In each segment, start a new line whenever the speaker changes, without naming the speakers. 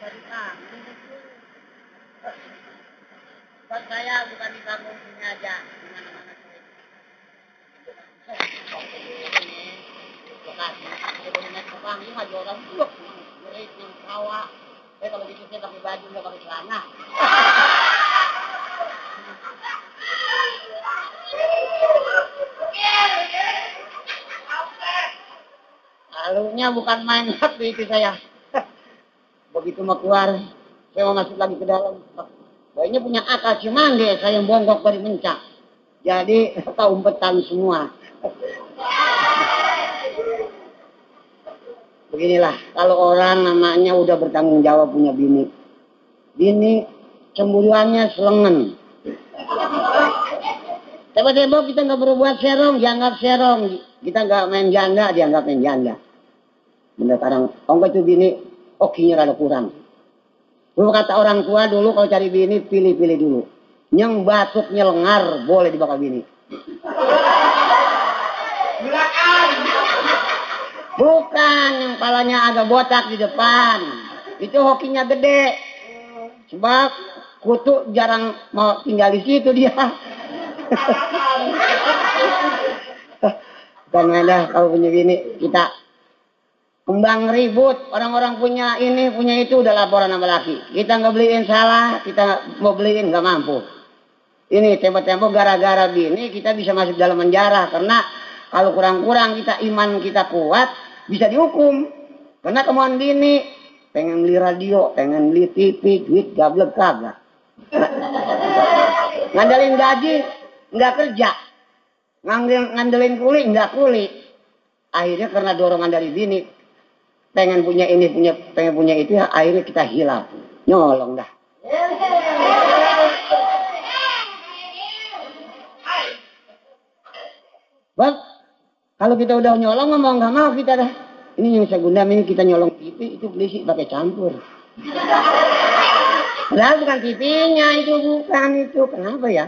berubah. Menurutku, eh, buat saya bukan dibangun sini aja, di mana-mana sih. Bukan, sebenarnya naik ke panggung aja orang tua. Jadi yang sawah, saya kalau dipikir pakai baju nggak pakai celana. Halunya bukan main satu itu saya. Begitu mau keluar, saya mau masuk lagi ke dalam. Bayinya punya akal cuman deh saya yang bongkok dari mencak. Jadi tahu umpetan semua. Beginilah, kalau orang namanya udah bertanggung jawab punya bini. Bini cemburuannya selengen. Tiba-tiba kita nggak berbuat serong, dianggap serong. Kita nggak main janda, dianggap main janda. Bener sekarang, kalau itu bini, okinya rada kurang. Dulu kata orang tua dulu kalau cari bini, pilih-pilih dulu. Yang batuknya lengar, boleh dibakar bini. Bukan yang palanya agak botak di depan. Itu hokinya gede. Sebab kutu jarang mau tinggal di situ dia. Dan ada kalau punya bini kita kembang ribut orang-orang punya ini punya itu udah laporan sama laki kita nggak beliin salah kita nggak mau beliin nggak mampu ini tempo-tempo gara-gara bini kita bisa masuk dalam penjara karena kalau kurang-kurang kita iman kita kuat bisa dihukum karena kemauan bini pengen beli radio pengen beli TV duit gablek kagak ngandelin gaji nggak kerja Ngandelin, ngandelin kuli nggak kuli akhirnya karena dorongan dari bini pengen punya ini punya pengen punya itu ya, akhirnya kita hilang nyolong dah Bang, kalau kita udah nyolong ngomong nggak mau kita dah. Ini yang saya gundam ini kita nyolong TV itu beli pakai campur. Padahal bukan TV-nya itu bukan itu kenapa ya?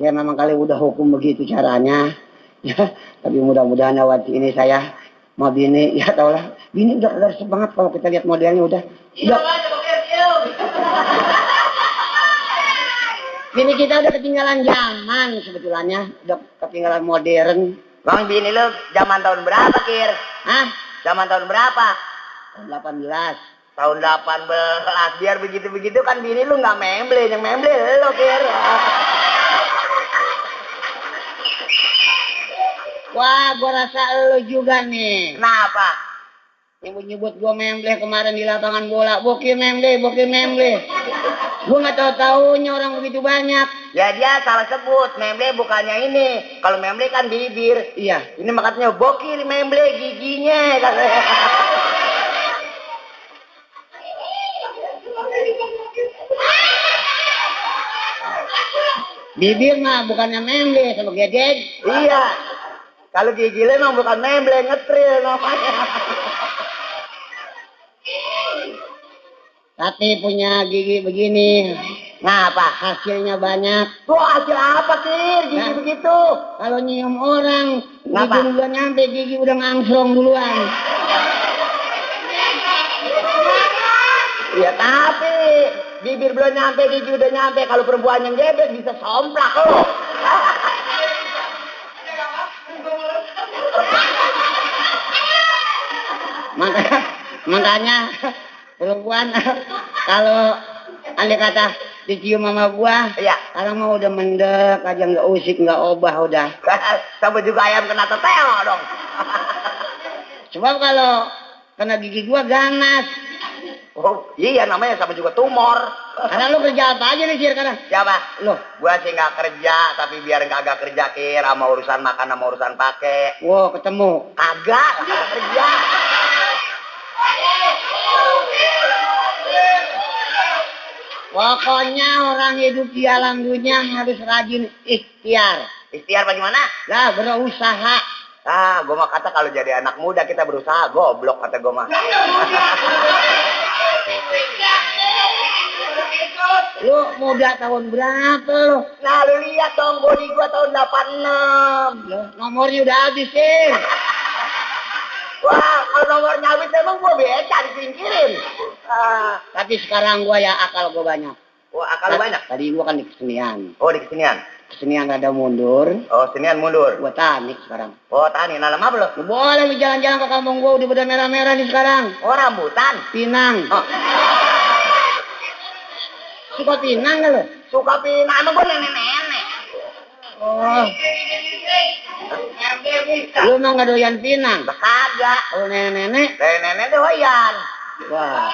Ya memang kali udah hukum begitu caranya. Ya, tapi mudah-mudahan lewat ini saya mau bini ya tau lah. Bini udah udah semangat kalau kita lihat modelnya udah. udah bini kita udah ketinggalan zaman sebetulannya, udah ketinggalan modern.
Bang bini lu zaman tahun berapa Kir?
Hah?
Zaman tahun berapa?
Tahun 18.
Tahun 18 biar begitu-begitu kan bini lu nggak memble yang memble lu Kir.
Wah, gua rasa lu juga nih.
Kenapa?
Yang gua nyebut gua memble kemarin di lapangan bola. Bokir memble, bokir memble. Gua nggak tahu taunya orang begitu banyak.
Ya dia salah sebut memble bukannya ini. Kalau memble kan bibir.
Iya.
Ini makanya bokir memble giginya.
Bibir mah bukannya memble sama gedeg.
iya. Kalau gigi lu emang bukan memble ngetril namanya.
Tapi punya gigi begini.
Kenapa?
Hasilnya banyak.
Tuh hasil apa Kir? Gigi
Nah.
begitu.
Kalau nyium orang, gigi
Ngapa?
duluan nyampe, gigi udah ngangsrong duluan.
Ya tapi bibir belum nyampe, gigi udah nyampe. Kalau perempuan yang gebet bisa somplak lo.
Maka, makanya perempuan kalau andai kata dicium sama buah,
Iya.
sekarang mah udah mendek aja nggak usik nggak obah udah.
Sama juga ayam kena teteo dong.
Sebab kalau kena gigi gua ganas.
Oh, iya namanya sama juga tumor.
Karena lu kerja apa aja nih sih sekarang?
Siapa?
Loh,
Gua sih nggak kerja, tapi biar nggak agak kerja kir sama urusan makan sama urusan pakai.
wow ketemu.
Kagak, nggak kerja.
Pokoknya orang hidup di alam dunia harus rajin ikhtiar.
Ikhtiar bagaimana?
Lah berusaha.
Ah, gua mah kata kalau jadi anak muda kita berusaha goblok kata gua mah.
Lu muda tahun berapa lu?
Nah, lu lihat dong body gua tahun 86.
Loh, nomornya udah habis sih.
Wah, kalau mawar nyawit emang gua beca disingkirin. Ah,
Tapi sekarang gua ya akal gua banyak.
wah akal
Ta-
banyak.
Tadi gua kan di kesenian.
Oh di kesenian.
Kesenian rada mundur.
Oh senian mundur.
Gua tanik sekarang.
Oh tani nalam apa lo?
Lu boleh lu jalan-jalan ke kampung gua udah beda merah-merah nih sekarang.
Oh rambutan.
Pinang.
Oh,
Suka pinang gak lu?
suka pina emang gua nenek nenek.
Oh. Lu emang gak doyan pinang?
Kagak.
Kalau nenek-nenek,
Nenek nenek tuh wayan.
wah.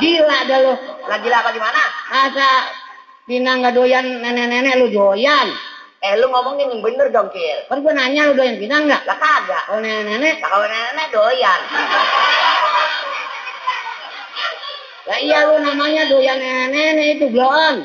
Gila dah lu.
Lagi lah apa gimana?
Masa pinang gak doyan nenek-nenek lu doyan?
Eh lu ngomongin yang bener dong kil.
Kan gua nanya lu doyan pinang gak?
Lah kagak.
Kalau nenek-nenek,
Lah, Kalau nenek nenek doyan.
ya iya lu namanya doyan nenek-nenek itu blon.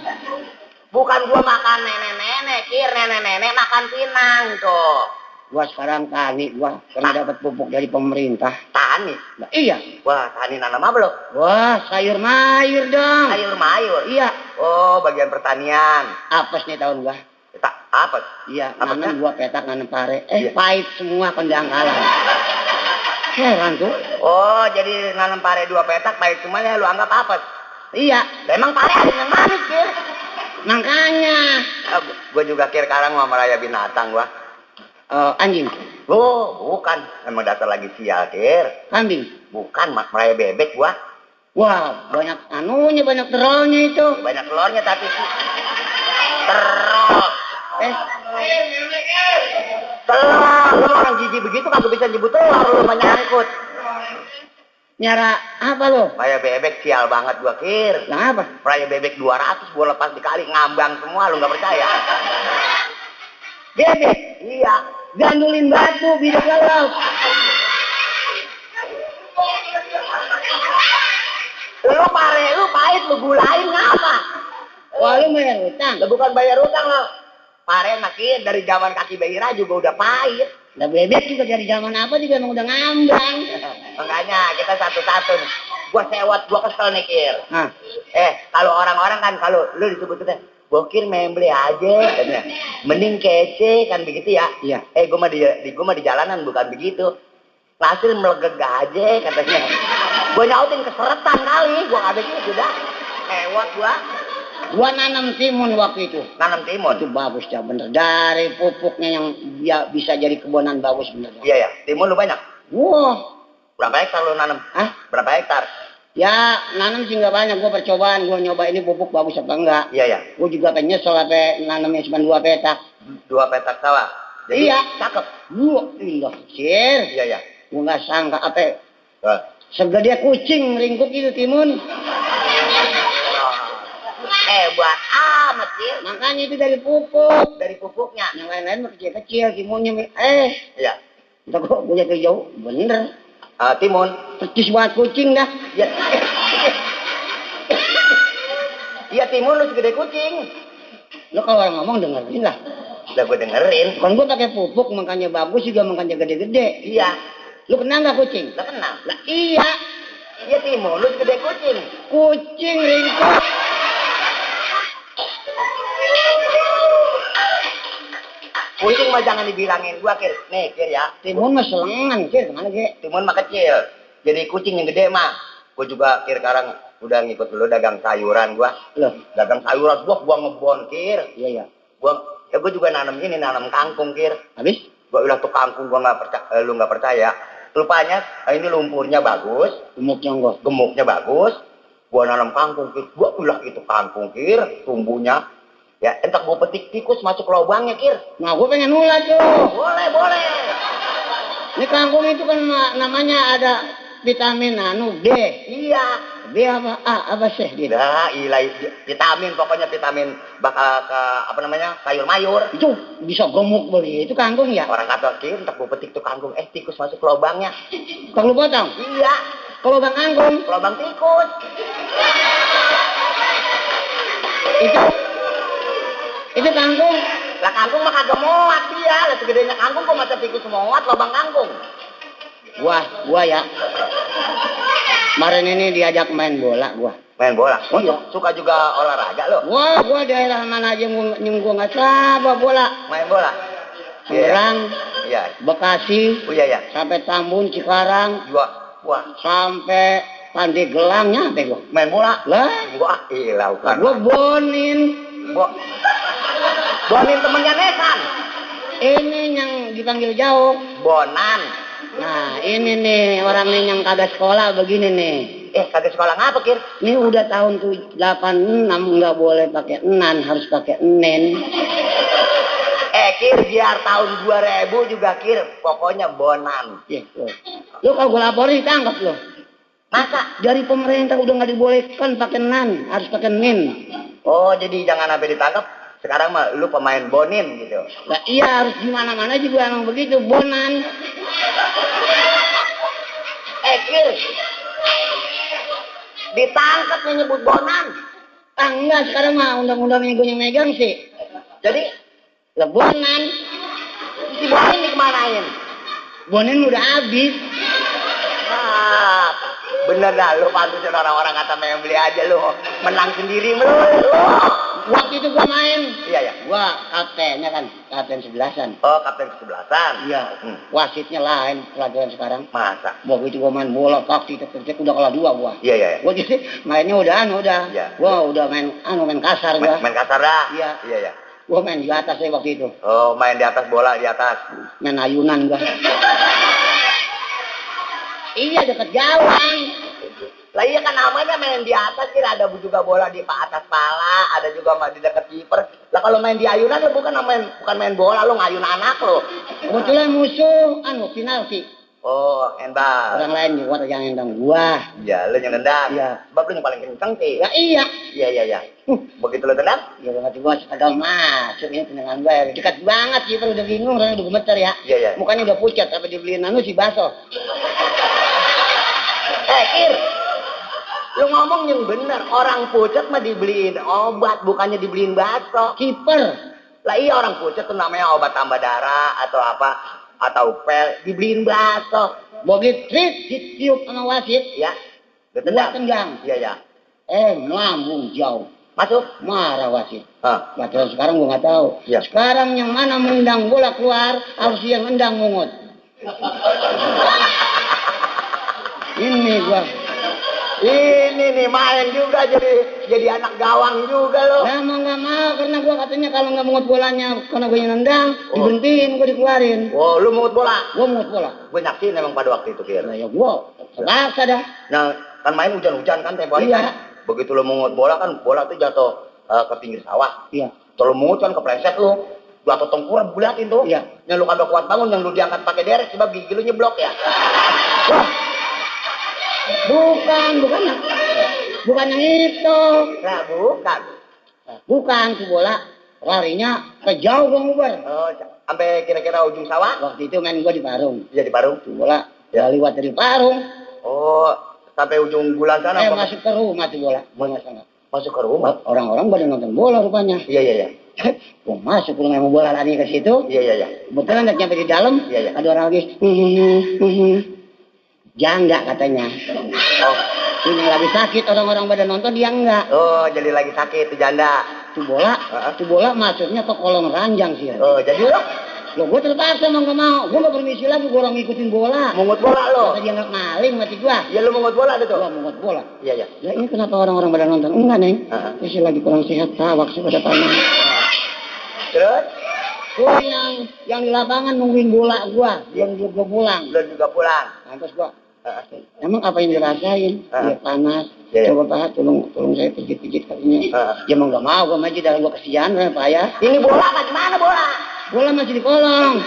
Bukan gua makan nenek nenek kir nenek nenek makan pinang tuh.
Gua sekarang tani, gua pernah dapat pupuk dari pemerintah.
Tani.
Nah, iya.
Wah tani nanam apa lo?
Wah, sayur mayur dong.
Sayur mayur.
Iya.
Oh, bagian pertanian.
Apes nih tahun gua.
Tak apa?
Iya,
Apes
nanam
kan?
gua petak nanam pare. Eh,
Iya.
pahit semua kendang kalah. Heran tuh.
Oh, jadi nanam pare dua petak, baik cuma ya lu anggap apa?
Iya,
Lah, Emang pare ada yang manis, Kir?
makanya.
Ah, gu- gua juga kir karang sama raya binatang gua.
Eh, anjing,
Oh, bukan. Emang dasar lagi sial, Kir.
kambing.
Bukan, mak meraya bebek gua.
Wah, banyak anunya, banyak terolnya itu.
Banyak telurnya tapi sih. Terok.
Eh,
Telur. Lu orang jijik begitu kagak bisa nyebut telur lu menyangkut.
nyara apa lo?
Meraya bebek sial banget gua, Kir.
Lah apa?
Raya bebek 200 gua lepas dikali ngambang semua lu nggak percaya.
Bebek,
Iya.
gandulin batu, bidak laut.
Lu pare lu pahit lu gulain ngapa?
Wah, lu bayar utang.
Lu bukan bayar utang lo. Pare makin dari zaman kaki Behira juga udah pahit.
Lah bebek juga dari zaman apa juga emang udah ngambang.
Makanya kita satu-satu nih. Gua sewot, gua kesel nih Kir.
Nah,
Eh, kalau orang-orang kan kalau lu disebut kita Bokir memble aja, katanya. mending kece kan begitu ya.
Iya.
Eh, gua mah di, di gua mah di jalanan bukan begitu. Hasil melegeg aja katanya. gua nyautin keseretan kali, gua kabeh gitu dah. Ewot gua
gua nanam timun waktu itu.
nanam timun.
Itu bagus dah bener. Dari pupuknya yang dia bisa jadi kebonan bagus bener.
Iya ya, timun lu banyak.
Wah,
Berapa hektar lu nanam?
ah,
Berapa hektar?
ya nanam sih nggak banyak. Gua percobaan, gua nyoba ini pupuk bagus apa enggak.
Iya ya,
Gua juga pengen nyesel apa nanamnya cuma dua petak.
dua petak sawah. Jadi,
Iya.
Cakep.
Gua ilah sir.
Iya ya.
Gua nggak sangka apa
Eh,
segede kucing ringkuk itu timun.
Eh, buat amat Kir.
Makanya itu dari pupuk.
Dari pupuknya.
Yang lain-lain mah kecil kecil timunnya mi- eh
Iya.
Entah kok gue jatuh jauh, bener.
Eh, timun.
Percis banget kucing dah.
Iya. Iya timun lu segede kucing.
Lo kalau orang ngomong dengerin lah.
Lah gue dengerin.
Kan gue pakai pupuk, makanya bagus juga, makanya gede-gede.
Iya.
Lo kenal nggak kucing?
Lah kenal.
Lah iya,
Iya timun lu segede kucing.
kucing ringkuk.
Kucing mah jangan dibilangin gua kir. Nih kir ya.
Timun mah selengan, sih kemana ge?
Timun mah kecil. Jadi kucing yang gede mah. Gue juga kir sekarang udah ngikut lu dagang sayuran gua.
Loh,
Dagang sayuran gua gua ngebon kir.
iya iya.
Gua ya gua juga nanam ini nanam kangkung kir.
Habis?
Gua udah tuh kangkung gua nggak percaya. eh, lu nggak percaya. Rupanya eh, ini lumpurnya bagus.
Gemuk nyonggol.
gemuknya bagus gua nanam kangkung kir gua ulah itu kangkung kir tumbuhnya ya entak gua petik tikus masuk lubangnya kir
Nah, gue pengen ulat tuh.
boleh boleh
Ini kangkung itu kan ma- namanya ada vitamin anu B.
iya
B apa A apa sih dia?
tidak ilah vitamin pokoknya vitamin bakal ke apa namanya sayur mayur Iya,
Itu bisa gemuk beli. Itu kangkung ya?
orang kata kir entak gua petik tuh kangkung eh tikus masuk lubangnya
Kalau potong,
iya
kalau bang kangkung
lubang tikus
itu itu kangkung
lah kangkung mah kagak muat dia lah segedenya kangkung kok masa tikus muat lubang kangkung
Wah, gua ya. Kemarin ini diajak main bola gua.
main bola Oh,
Iya.
suka juga olahraga lo
Wah, gua daerah mana aja gua, yang gua nggak sabar bola.
main bola
Tangerang,
Iya.
Bekasi,
Oh iya ya.
sampai Tambun, Cikarang,
Gua wah
sampai Pandeglang nyampe gua.
main bola.
Lah,
Gua ilah bukan.
gua bonin.
Gua Bonin temennya Nesan.
Ini yang dipanggil jauh.
Bonan.
Nah, ini nih orang nih yang kagak sekolah begini nih.
Eh kagak sekolah ngapa kir?
Ini udah tahun tu- 86 nggak boleh pakai enan, harus pakai enen.
Eh kir biar tahun 2000 juga kir. Pokoknya Bonan.
Ya, lu. Lu kalau gue laporin ditangkap lo.
Masa?
Dari pemerintah udah nggak dibolehkan pakai nan, harus pakai nen.
Oh jadi jangan sampai ditangkap. Sekarang mah lu pemain Bonin gitu.
Lah iya harus gimana mana juga emang begitu bonan.
Eh kir. Ditangkap menyebut Bonan.
Ah enggak sekarang mah undang-undangnya gue yang megang sih.
Jadi
Lah bonan,
si Bonin dikemanain?
bonen udah habis.
Ah, bener dah lu pantusin orang-orang kata yang beli aja lu menang sendiri lu lu.
Waktu itu gue main,
iya ya
gue kaptennya kan kapten sebelasan.
oh kapten kesebelasan
Iya.
Hmm,
Wasitnya lain pelajaran sekarang.
masa
Gua itu gua main bola kaki terkecek udah kalah dua gua.
iya iya ya.
Gua jadi mainnya udah anu udah.
Iya.
Gua udah main anu main kasar gua.
main, main kasar dah
Iya.
iya ya
Gua main di atas deh waktu itu.
oh main di atas bola di atas
Main ayunan gua. iya deket gawang.
lah iya kan namanya main di atas kira ada juga bola di pa- atas pala ada juga ma- di dekat kiper lah kalau main di ayunan lu bukan main bukan main bola lu ngayun anak lu
Kebetulan musuh anu penalti.
oh handball
Orang lain juga yang nendang gua.
iya lu yang nendang
Iya.
sebab lu yang paling kenceng sih
Ya iya.
iya iya iya begitu lu tendang
Ya waktu gua setengah masuk ini tendangan gua dekat banget sih udah bingung orang udah gemeter ya.
iya iya
Mukanya udah pucat apa dibeliin anu si baso.
Eh, Kir. Lu ngomong yang bener, orang pucat mah dibeliin obat, bukannya dibeliin batok.
Kiper.
Lah iya orang pucat tuh namanya obat tambah darah atau apa, atau pel, dibeliin batok.
Bogi trik ditiup sama wasit,
Ya,
gua
lu tendang.
tendang.
Iya, ya.
Eh, lambung jauh.
Masuk.
Marah wasit.
Hah.
Baturan sekarang gua nggak tahu.
Iya.
Sekarang yang mana menendang bola keluar, harus yang nendang mungut. Ini gua.
Ini nih main juga jadi jadi anak gawang juga lo.
Lah mau nggak mau karena gua katanya kalau nggak mungut bolanya karena gua yang nendang,
Oh.
dibentiin gua dikeluarin.
Wow, lu mungut bola.
Gua mungut bola.
Gue nyaksiin emang pada waktu itu, Kir.
Lah ya gua terasa dah.
Nah, kan main hujan-hujan kan tempo hari
Iya.
kan. Begitu lu mungut bola kan, bola tuh jatuh eh, ke pinggir sawah.
Iya.
Kalau mungut kan kepleset lu. Jatuh tengkurap bulatin tuh.
Iya.
Yang lu kagak kuat bangun yang lu diangkat pakai derek sebab gigi lu nyeblok ya.
Bukan, bukan. Bukan yang itu.
Nah, bukan.
Bukan tuh bola larinya ke jauh gua ngubar.
Oh, sampai kira-kira ujung sawah
Waktu itu main gua di Parung.
jadi baru.
Tuh bola
Ya.
ya. lewat dari Parung,
Oh, sampai ujung bulan sana
eh
Kan apa-
masuk ke rumah tuh bola. Gua nggak sangka.
masuk ke rumah.
Orang-orang pada nonton bola rupanya.
Iya, iya, iya.
gua masuk gua main bola lari ke situ.
Iya, iya, iya.
Kebetulan nggak nyampe di dalam,
Iya, iya.
ada orang lagi. "Hmm, Jangga katanya.
Oh.
Ini lagi sakit orang-orang pada nonton dia enggak.
Oh, jadi lagi sakit tuh janda.
Tuh bola,
Heeh.
tuh bola masuknya ke kolong ranjang sih.
Oh, jadi lu
Loh gua terpaksa mau nggak mau. Gua nggak permisi lagi gua orang ngikutin bola.
mungut bola lu.
Masa dianggap maling mati gua.
Ya lu mungut bola ada
Gua
tuh.
mau buat bola.
Iya, iya.
Ya ini kenapa orang-orang pada nonton? Enggak, Neng.
Heeh.
Ini sih lagi kurang sehat, tawak sih pada tanah.
Terus
Gua yang yang di lapangan nungguin bola gua, belum juga gua pulang.
lu juga pulang.
Lantas gua,
Heeh.
emang apa yang dirasain?
Heeh.
Ya panas.
Iya, iya.
Coba Pak, tolong tolong saya pijit-pijit kakinya.
Heeh.
Ya mau nggak mau, gua maju dalam gua kesian, ya, Pak ya.
Ini bola apa gimana bola?
Bola masih di kolong.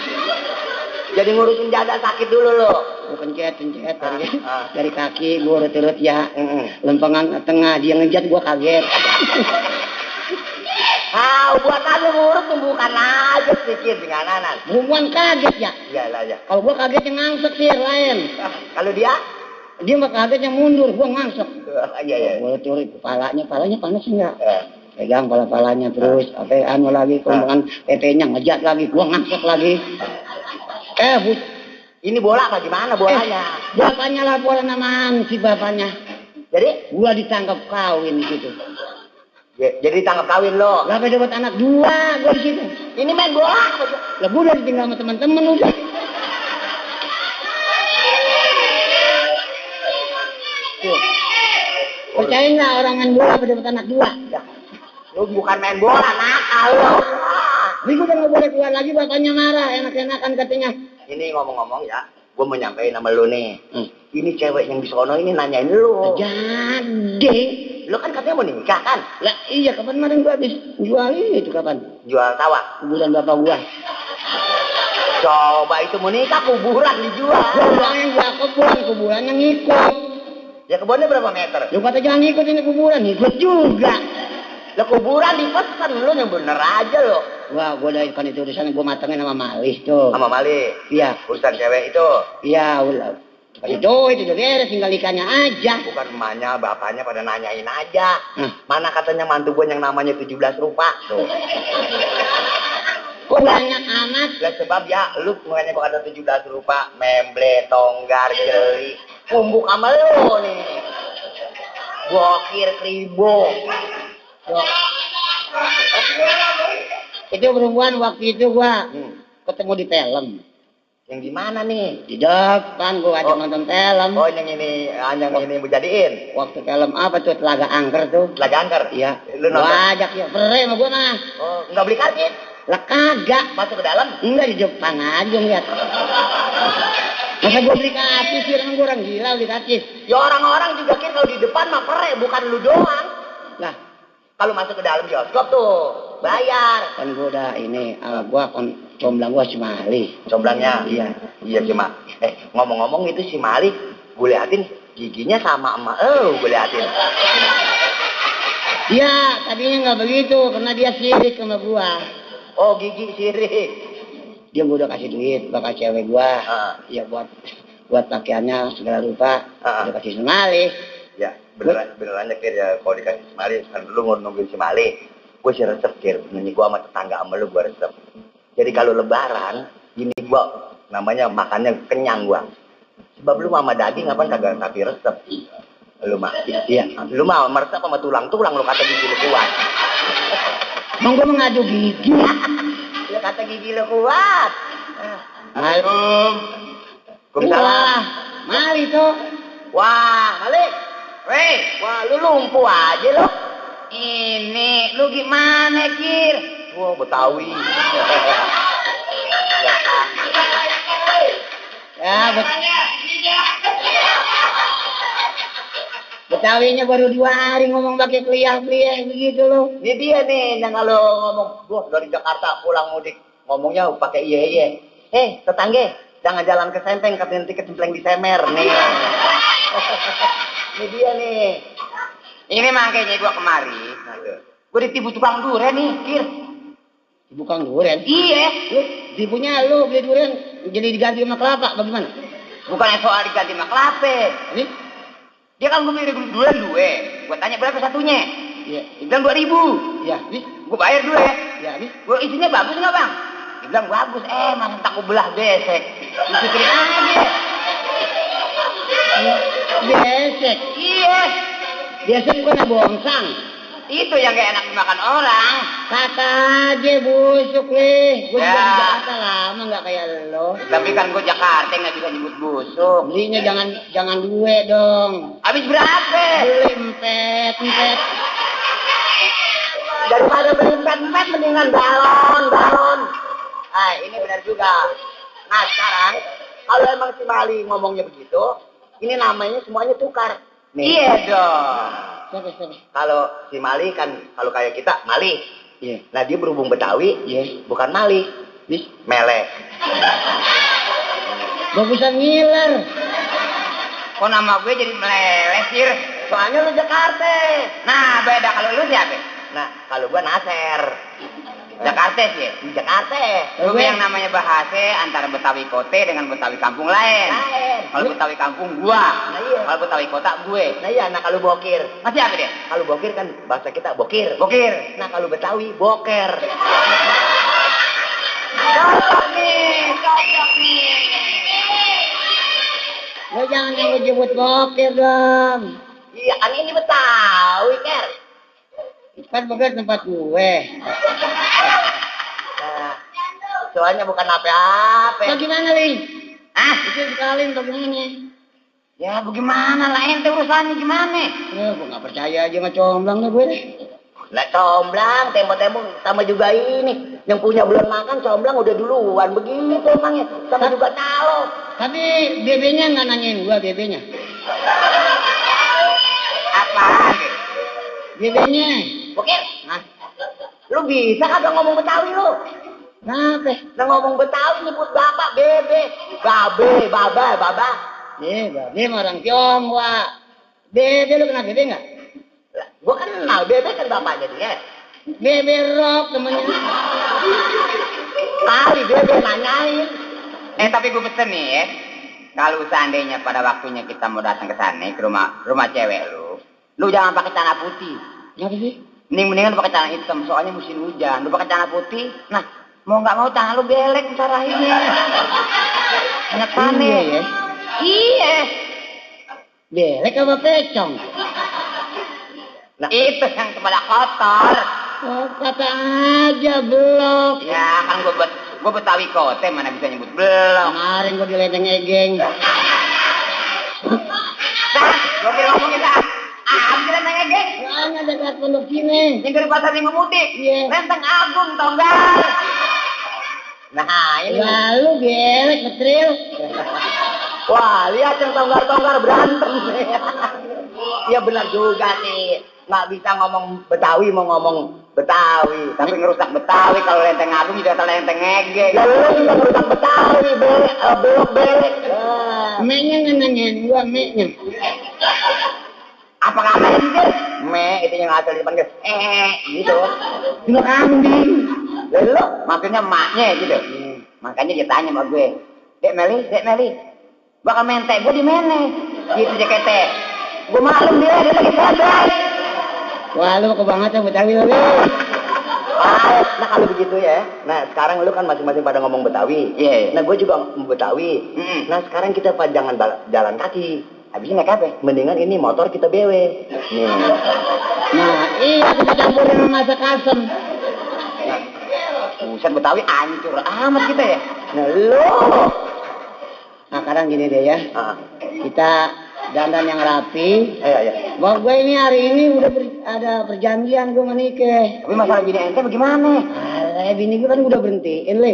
Jadi ngurusin dada sakit dulu lo.
Gua pencet, pencet dari,
Heeh.
dari kaki, gua urut-urut ya. Lempengan ke tengah, dia ngejat gua kaget.
Ah, buat kamu ngurus tumbukan aja sedikit dengan anak.
Bukan kaget ya.
Iya lah ya.
Kalau gua kaget yang ngangsek sih lain.
Ah, Kalau dia,
Dia mah kaget yang mundur, gua ngangsek.
Ah, iya iya.
Gua curi kepalanya, kepalanya panas enggak?
Eh,
Pegang kepala-kepalanya terus, apa anu lagi, kemudian PP-nya ngejat lagi, gua ngangsek lagi. Eh, bu,
Ini bola apa gimana bolanya?
bapaknya laporan namaan si bapaknya.
Jadi,
Gua ditangkap kawin gitu.
Ya, jadi tangkap kawin lo.
Lah apa dapat anak dua gua di situ.
Ini main bola. apa tuh?
Lah gua udah ditinggal sama teman-teman udah.
Tuh.
Percaya nggak orangan bola apa dapat anak dua?
Ya. Lu bukan main bola, nakal Ah. lo.
Ini gua udah nggak boleh keluar lagi bapaknya marah enak-enakan katanya.
Ini ngomong-ngomong ya, gue mau nyampein sama lu nih. Ini cewek yang di sono ini nanyain lu.
Jadi,
Lu kan katanya mau nikah kan?
lah iya kapan kemarin gua habis jual itu kapan?
Jual tawa.
Kuburan bapak gua.
Coba itu mau nikah kuburan
Gua
dijual.
bilang yang gua kuburan, kuburan yang ngikut.
Ya kebunnya berapa meter?
Lu kata jangan ngikut ini kuburan, ngikut juga.
Lah kuburan dipesan lu yang bener aja lo.
Wah, gua udah kan itu urusan gua matengin sama Malis tuh.
Sama Mali.
Iya,
Urusan cewek itu
iya ulah. Itu itu udah beres tinggal ikannya aja.
bukan emaknya, bapaknya pada nanyain aja.
Hah.
Mana katanya mantu gue yang namanya 17 rupa. Hmm. Tuh.
Kok banyak amat?
Lah sebab ya lu bukannya kok ada 17 rupa, memble, tonggar, jeli. Kumbuk sama lu nih. Bokir kribo. Tuh.
Itu perempuan waktu itu gua
Hmm.
ketemu di film.
Yang gimana nih?
Di depan gua ajak
Oh.
nonton film.
Oh yang ini, ah, yang ini mau jadiin.
Waktu film apa tuh Telaga Angker tuh?
Lagi angker?
Iya.
Lu nonton?
Gua ajak ya, pere sama gua mah.
Oh, nggak beli karcis?
Lah kagak.
Masuk ke dalam?
Enggak di depan aja ngeliat. Masa gue beli karcis sih, orang gue orang gila beli karcis.
Ya orang-orang juga kira kalau di depan mah pere, bukan lu doang.
Lah,
Kalau masuk ke dalam bioskop tuh, bayar.
kan gue udah ini, eh, gue kon comblang gue cuma Ali.
Comblangnya?
Iya.
Iya cuma, eh ngomong-ngomong itu si Mali, gue liatin giginya sama emak lu, gue liatin.
Iya, tadinya nggak begitu, karena dia sirik sama gue.
Oh gigi sirik.
Dia gue udah kasih duit, bakal cewek gue.
Ah.
Ya buat buat pakaiannya segala rupa,
Ah.
udah kasih sama Ali.
Ya beneran beneran ya Kir ya kalau dikasih si Mali, kan dulu mau nungguin si Mali, gue sih resep Kir, ini gue sama tetangga sama lu gue resep. Jadi kalau lebaran, gini gue namanya makannya kenyang gue. Sebab lu sama daging apa kagak tapi resep. Lu mah,
Iya.
lu mah sama resep sama tulang-tulang lu kata gigi lu kuat.
Emang gue mengadu gigi.
Lu kata gigi lu kuat.
Mal.
Waalaikumsalam.
Wah, Mali tuh.
Wah, Malik. Weh, wah lu lumpuh aja lu.
Ini, lu gimana, Kir?
Wah, Betawi.
Ya, bet Betawinya baru dua hari ngomong pakai kliah-kliah begitu loh.
Ini dia nih yang kalau ngomong, gua dari Jakarta pulang mudik, ngomongnya pakai iye iye. Eh, tetangga, jangan jalan ke Sempeng, katanya nanti kecempleng di Semer nih. Ini dia nih. Eh, Ini makanya gua kemari. Gua ditipu tukang durian nih, Kir.
Bukan durian.
Iya.
Lu, tipunya lu beli durian jadi diganti sama kelapa bagaimana?
Bukan soal diganti sama kelape.
Ini?
Dia kan gue beli durian dua. Gue tanya berapa satunya.
Ya,
Dia bilang dua ribu.
ya, ini,
Gue bayar dua.
ya, ini.
Gue isinya bagus nggak bang? Dia bilang bagus. Eh masa tak gue belah besek. Dipikirin aja.
Besek.
Iya.
Besek bukan bongsang.
Itu yang gak enak dimakan orang.
Kata aja busuk nih. Gue juga
Ya.
di Jakarta lama nggak kayak lo.
Tapi kan gue Jakarta nggak bisa nyebut busuk.
Belinya jangan jangan duwe dong.
Habis berapa?
Beli empet, empet.
Daripada beli pet-pet mendingan galon, galon. Ah, ini benar juga. Nah, sekarang kalau emang si Mali ngomongnya begitu, ini namanya semuanya tukar. Iya dong.
Siapa, siapa?
Kalau si Mali kan kalau kayak kita Mali.
Iya,
Nah, dia berhubung Betawi,
iya.
bukan Mali,
Nih,
Melek.
bagusan ngiler.
Kok nama gue jadi meleleh, Sir? Soalnya lu Jakarta. Nah, beda kalau lu siapa? Nah, kalau gua Naser. Jakarta sih, ya? Jakarta.
Lu yang
namanya bahasa antara Betawi Kote dengan Betawi kampung lain.
Kalau
Betawi kampung gua. iya. Nah, iya. Kalau Betawi kota gue. Nah iya, nah kalau Bokir. Masih apa deh? Kalau Bokir kan bahasa kita Bokir. Bokir. Nah kalau Betawi Boker. Cocok nih, cocok nih.
Lo jangan yang jemput bokir dong.
Iya kan ini Betawi, Ker.
Kan bukan tempat gue.
Nah, soalnya bukan apa-apa.
Kau gimana, Li? Ah, itu sekali kau gimana?
Ya bagaimana lah ente urusannya gimana?
Eh, gue gak percaya aja sama comblang dah gue. deh.
Lah comblang, tembok-tembok sama juga ini. Yang punya belum makan comblang udah duluan begitu emangnya. Sama juga calo.
Tapi BB-nya nggak nanyain gue, BB-nya.
Apa?
BB-nya.
Oke,
Nah,
lu bisa kagak ngomong Betawi lu?
kenapa?
Nah ngomong Betawi nyebut bapak, bebe, babe, baba, baba.
Eh, babe mah orang Tionghoa. Bebe lu kenal bebe nggak?
Lah, gua kenal bebe kan bapaknya dia.
Bebe rock temennya.
Kali bebe nanyain.
Eh tapi gue pesen nih ya. Kalau seandainya pada waktunya kita mau datang ke sana ke rumah rumah cewek lu, lu jangan pakai celana putih.
Kenapa sih?
Mending mendingan lu pakai celana hitam soalnya musim hujan. Lu pakai celana putih, nah mau nggak mau tangan lu belek Iya, ntar akhirnya. Enak
Iya
panen.
ya.
Iya.
Belek apa pecong?
Nah, itu yang kepala kotor.
Oh, kata aja belum.
Ya kan gue buat gue betawi kote mana bisa nyebut belum.
Kemarin gua diledeng egeng.
Dah, gue kira ngomongin dah. Ah, bisa nanya geng.
Soalnya dekat pondok sini.
Yang dari pasar minggu mudik.
Iya.
Lenteng Agung, Tonggal.
Nah ini.
Lalu belek betril.
Wah, lihat yang tonggar-tonggar berantem. ya benar juga sih. Nggak bisa ngomong Betawi mau ngomong Betawi.
Tapi ngerusak Betawi kalau lenteng Agung juga salah lenteng Ege.
Ya lu juga ngerusak Betawi, be, eh, belok belek.
Menya nggak nanyain gua, menya.
Apa ngapain sih?
Me, itu yang asal dipanggil.
Eh,
Gitu.
Gua kambing.
Lah, Lu,
Ya maksudnya emaknya gitu.
Hmm.
Makanya dia tanya sama gue. Dek Meli, Dek Meli. Bakal mentek, gue di mana? Gitu JKT. Gue maklum dia, dia lagi santai.
Wah, lu kebangetan Betawi lu. lu.
ah, nah kalau begitu ya. Nah sekarang lu kan masing-masing pada ngomong Betawi.
Iya, iya.
Nah gue juga ngomong Betawi.
Mm.
Nah sekarang kita pa- jangan bal- jalan kaki.
Habisnya naik apa?
Mendingan ini motor kita bewe. Nih.
Nah, iya kita campurin sama masak asem.
Buset Betawi hancur amat kita ya.
Nah lu.
Nah, sekarang gini deh ya.
Ah, Iya,
Kita dandan yang rapi,
ayo, ayo.
Wah gue ini hari ini udah ber- ada perjanjian gue menikah.
Tapi masalah bini ente bagaimana?
Alah, bini gue kan udah berhentiin, Le.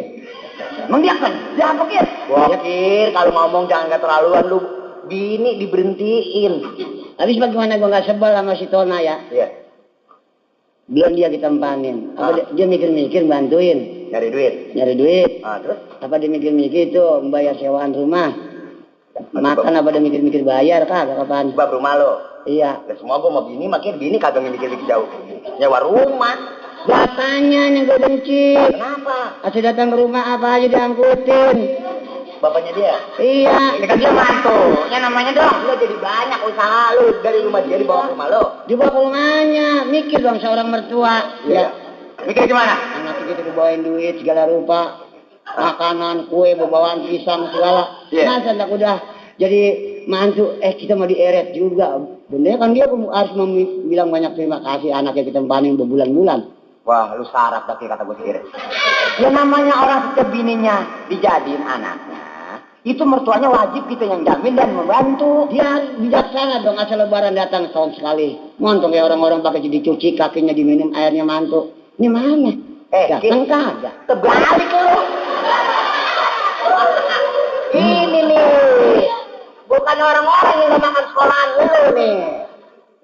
Emang dia kan? Dia apa Kir?
Gokir, kalau ngomong jangan keterlaluan lu. Bini diberhentiin.
Habis bagaimana gue gak sebel sama si Tona ya?
Iya,
Belum dia kita empanin. Apa
Ah.
dia- dia mikir-mikir bantuin,
nyari duit.
nyari duit.
Ah, terus?
Apa dia mikir-mikir itu membayar sewaan rumah? Makan apa dia mikir-mikir bayar kagak kapan?
Sebab rumah lo.
Iya.
Lah semua gua mau bini, makin bini kagak mikir-mikir jauh. Ya, Nyewa rumah.
Bapaknya yang gue benci.
Kenapa?
Asal datang ke rumah apa aja diangkutin.
Bapaknya dia.
Iya.
Ini kan dia mantunya namanya dong.
Lo jadi banyak usaha lu dari rumah dia dibawa ke rumah lo.
Dibawa ke rumahnya, mikir dong seorang mertua.
Iya.
Ya.
Mikir gimana?
Anak kita dibawain duit segala rupa, makanan, kue, bawaan pisang segala.
Iya.
Masa tak udah jadi mantu, eh kita mau dieret juga. Bener kan dia harus mem- bilang banyak terima kasih anaknya kita panen berbulan-bulan.
Wah, lu sarap tapi kata gue sendiri. Ya namanya orang setiap bininya dijadiin anaknya. Itu mertuanya wajib kita yang jamin dan membantu.
Dia harus Ya, bijaksana dong asal lebaran datang tahun sekali. Montong ya orang-orang pakai jadi cuci, kakinya diminum, airnya mantu. Ini mana?
Eh,
Datang kagak.
Terbalik lu. Ini nih. Bukan orang-orang yang udah makan sekolahan lu nih.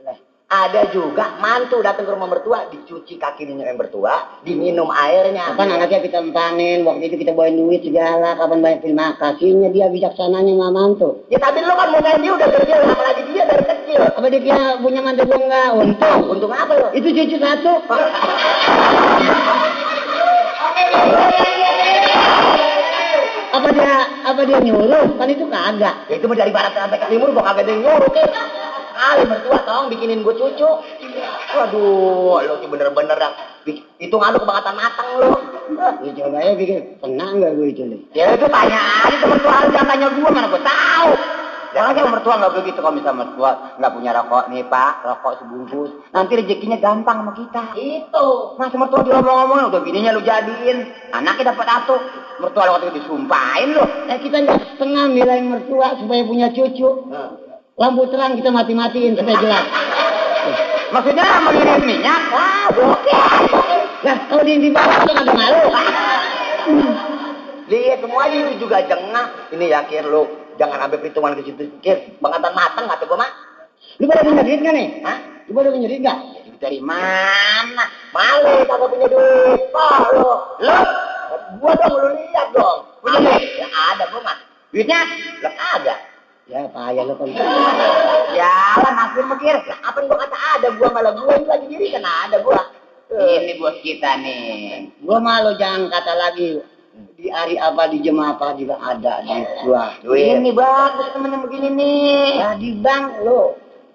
Lah, Ada juga mantu datang ke rumah mertua, dicuci kaki yang mertua, diminum airnya.
Kapan anaknya kita empanin, waktu itu kita bawain duit segala, kapan banyak terima kasihnya dia bijaksananya sama mantu.
Ya tapi lu kan mau dia udah kecil, apalagi dia dari kecil.
Apa dia kira punya mantu gua enggak? Untung.
Untung apa lu?
Itu cucu satu. apa dia apa dia nyuruh? Kan itu kagak.
Ya itu mah dari barat sampai ke timur gua kagak ada yang nyuruh Kir. Kali mertua tolong bikinin gua cucu. Waduh, lu sih bener-bener dah. Bik- Hitung aduk bangetan matang lu. Eh,
Ya coba ya pikir, pernah enggak gue itu? Li?
Ya itu tanya aja temen tuh jangan tanya gue mana gue tahu.
Ya,
Orang
Apalagi mertua nggak begitu kalau misalnya mertua nggak punya rokok nih pak, rokok sebungkus. Nanti rezekinya gampang sama kita.
Itu.
Mas mertua diomong-omongin udah bininya lu jadiin, anaknya dapat satu. Mertua lo waktu itu disumpahin lo.
Eh,
Nah, kita nggak setengah milain mertua supaya punya cucu. Lampu terang kita mati-matiin supaya jelas.
Maksudnya mengirim minyak? Wah, gokil.
Nah, kalau di, di bawah tuh ada malu.
Lihat semuanya itu juga jengah. Ini ya Kir lu. Jangan ambil perhitungan ke situ Kir. Pengatan matang kata gua mah.
Lu pada punya duit nggak nih?
Hah?
Lu pada punya duit nggak?
Dari mana?
Mali kagak punya duit. Wah lu. Lu. Gua dong lu lihat dong. Punya duit. Ya ada gua mah.
Duitnya?
Lah kagak. Ya
Ya, payah lu kan.
Jalan, masih mikir.
Apa yang gua kata ada gua malah gua ini lagi diri kan ada gua.
Ini bos kita nih.
Gua malu jangan kata lagi. Di hari apa, di jam apa juga ada di gua.
Duit.
Ini bagus temen yang begini nih.
Nah, di bank lu.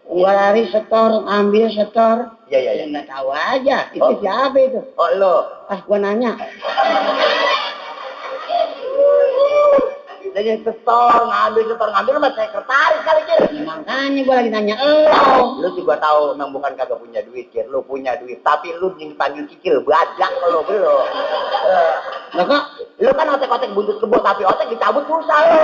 Gua lari setor, ambil setor.
Iya iya
Ya,
nah.
iya.
nggak tahu aja. Itu
Oh.
siapa itu?
Oh lu.
Pas gua nanya.
Jadi setor ngambil setor ngambil lu mah sekretaris kali Kir.
Ya, makanya gua lagi nanya elo.
Lu sih gua tahu memang bukan kagak punya duit, Kir. Lu punya duit, tapi lu dipanggil kikil, bajak kalau belum.
Lah kok
Lu kan otek-otek buntut kebo, tapi otek dicabut pulsa lu.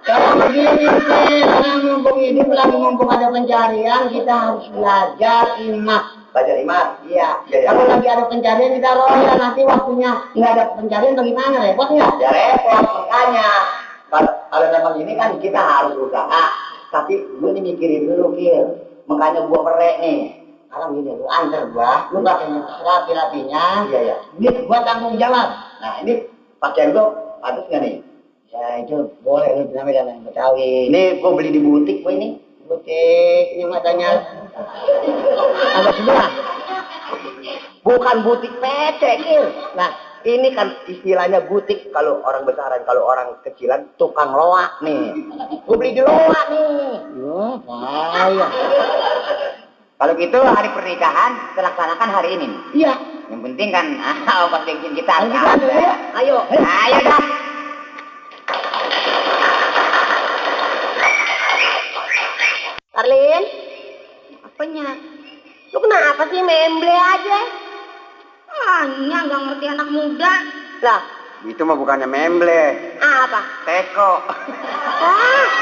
Kalau begini sih, orang mumpung hidup lagi mumpung ada pencarian, kita harus belajar imak.
Belajar imam.
Iya.
Iya, iya.
Kalau lagi ada pencarian kita royal nanti waktunya nggak ada pencarian bagaimana repot nggak?
Ya repot, makanya. Kalau kalau memang ini kan kita harus usaha. Tapi gue nih mikirin dulu, Kir. Makanya gua merek nih.
Sekarang gini, lu antar gua, lu pakai rapi rapinya.
Iya, iya.
Duit gua tanggung jawab.
Nah ini pakaian gua pantas nggak nih?
Ya itu boleh lu namanya dalam Betawi.
Ini gua beli di butik gua ini.
Butik, ini matanya agak sebelah.
Bukan butik PT, Kir.
Nah,
Ini kan istilahnya butik kalau orang besaran, kalau orang kecilan tukang loak nih. Gue beli di loak nih. Ah, iya.
wah payah.
Kalau gitu hari pernikahan kita laksanakan hari ini. nih.
Iya,
Yang penting kan
ah,
ongkos bensin kita harus
Ayo,
ada.
ayo,
Ayo, ayo dah.
Arlin, apanya? Lu kenapa sih memble aja? Ah, ini nggak ngerti anak muda. Lah,
Itu mah bukannya memble,
apa?
teko.
Ah.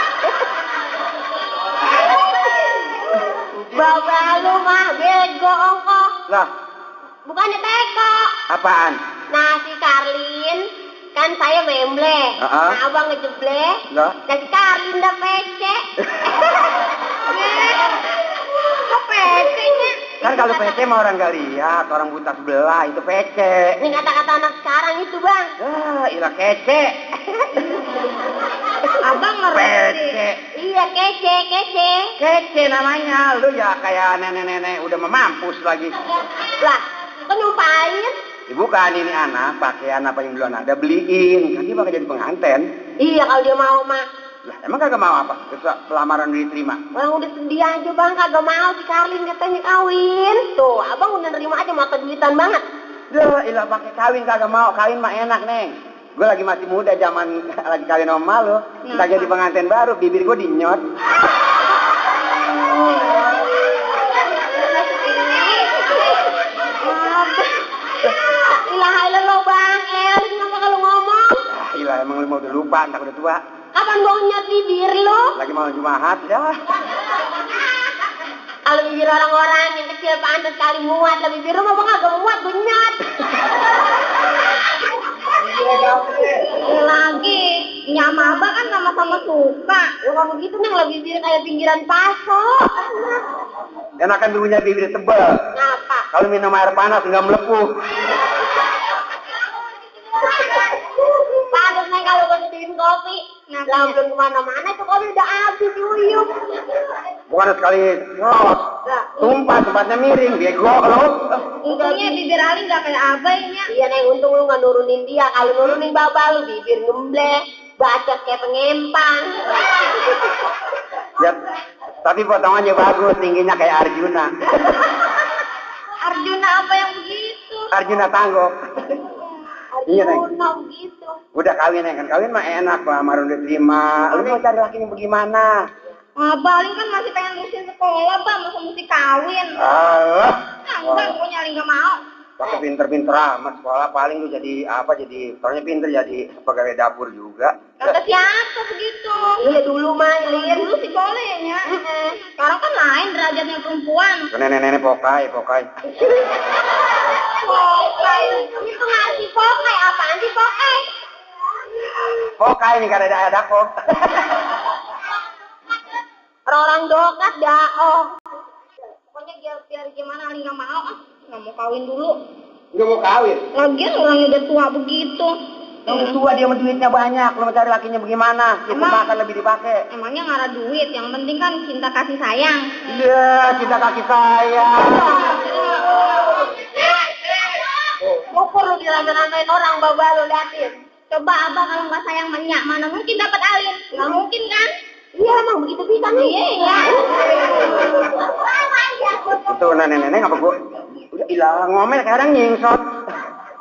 Bapak lu mah bego ongko.
Lah,
Bukannya teko.
apaan?
Nah, si Karlin kan saya memble.
Ah, ah.
Nah, abang ngejeble.
Lah.
Dan si Karlin udah pece. Eh, Kok pecenya?
Kan kalau PC mah orang nggak lihat, orang buta sebelah itu PC.
Ini kata-kata anak sekarang itu, Bang.
Ah, ilah kece.
Abang ngerti.
Pece.
Iya, kece, kece.
Kece namanya, lu ya kayak nenek-nenek udah memampus lagi.
Lah, kok nyumpahin?
Bukan ini anak, pakaian apa yang belum ada beliin. Kan dia bakal jadi penganten.
Iya, kalau dia mau mah.
Lah, emang kagak mau apa? Ketua pelamaran udah diterima.
Orang udah sedia aja bang, kagak mau si Karlin katanya kawin. Tuh, abang udah nerima aja mata duitan banget.
Duh, ilah pakai kawin kagak mau. Kawin mah enak, Neng. Gue lagi masih muda zaman lagi kawin sama lu. Kita
Iya,
jadi pengantin baru, bibir gue dinyot.
Ilah lo bang, El, kenapa kalau ngomong?
Ah, ilah emang lu mau udah lupa, entar udah tua.
Kapan gua nyot bibir lo?
Lagi mau jumahat, ya.
Kalau bibir orang-orang yang kecil pantas sekali muat, lah bibir lo mah bang agak muat, gua nyot. Ini lagi, nyama abang kan sama-sama suka. Ya kalau gitu neng lah bibir kayak pinggiran pasok.
Enakan dulunya bibir tebel.
Ngapa?
Kalau minum air panas nggak melepuh.
Pantes nih kalau gue sedihin kopi. ya. Lah belum kemana-mana tuh kopi udah habis uyup.
Bukan sekali ngelos. Tumpah, tempatnya miring. Bego lu.
Untungnya bibir Ali gak kayak abainya. Iya Neng, untung lu gak nurunin dia. Kalau nurunin baba lu bibir ngembleh. Bacot kayak pengempang.
Ya, tapi potongannya bagus, tingginya kayak Arjuna.
Arjuna apa yang begitu?
Arjuna tanggok. Iya, Neng.
Arjuna begitu.
Udah kawin ya kan kawin mah enak lamaran udah terima. Lu mau cari lakinya bagaimana?
Abaling kan masih pengen lurusin sekolah, Bang. Masa mesti kawin?
Allah.
Ah, enggak, pokoknya Ali nggak mau.
Pakai pinter-pinter amat sekolah paling lu jadi apa jadi soalnya pinter jadi pegawai dapur juga.
Kata siapa begitu? Iya dulu mah, Dulu sih boleh ya. Sekarang kan lain derajatnya perempuan.
Nenek-nenek pokai pokai.
Pokai. Itu ngasih pokai. Apaan sih pokai?
Pokai nih karena kan ada ada kok.
Orang dokat dah. Oh. Pokoknya biar, biar gimana Ali nggak mau. Ah, nggak mau kawin dulu.
Gak mau kawin.
Lagian orangnya udah tua begitu.
Yang tua dia sama duitnya banyak, lu mau cari lakinya bagaimana? Kita
Emang?
makan lebih dipakai.
Emangnya ngarah duit, yang penting kan cinta kasih sayang.
Iya, cinta kaki saya.
Ukur lu diranda-randain orang bawa lu liatin. Coba abah kalau nggak sayang menyak, mana mungkin dapat alin? Nggak mungkin kan? Iya emang begitu bisa nih. Iya iya.
Itu nenek-nenek apa gua? Udah hilang ngomel kadang nyingsot.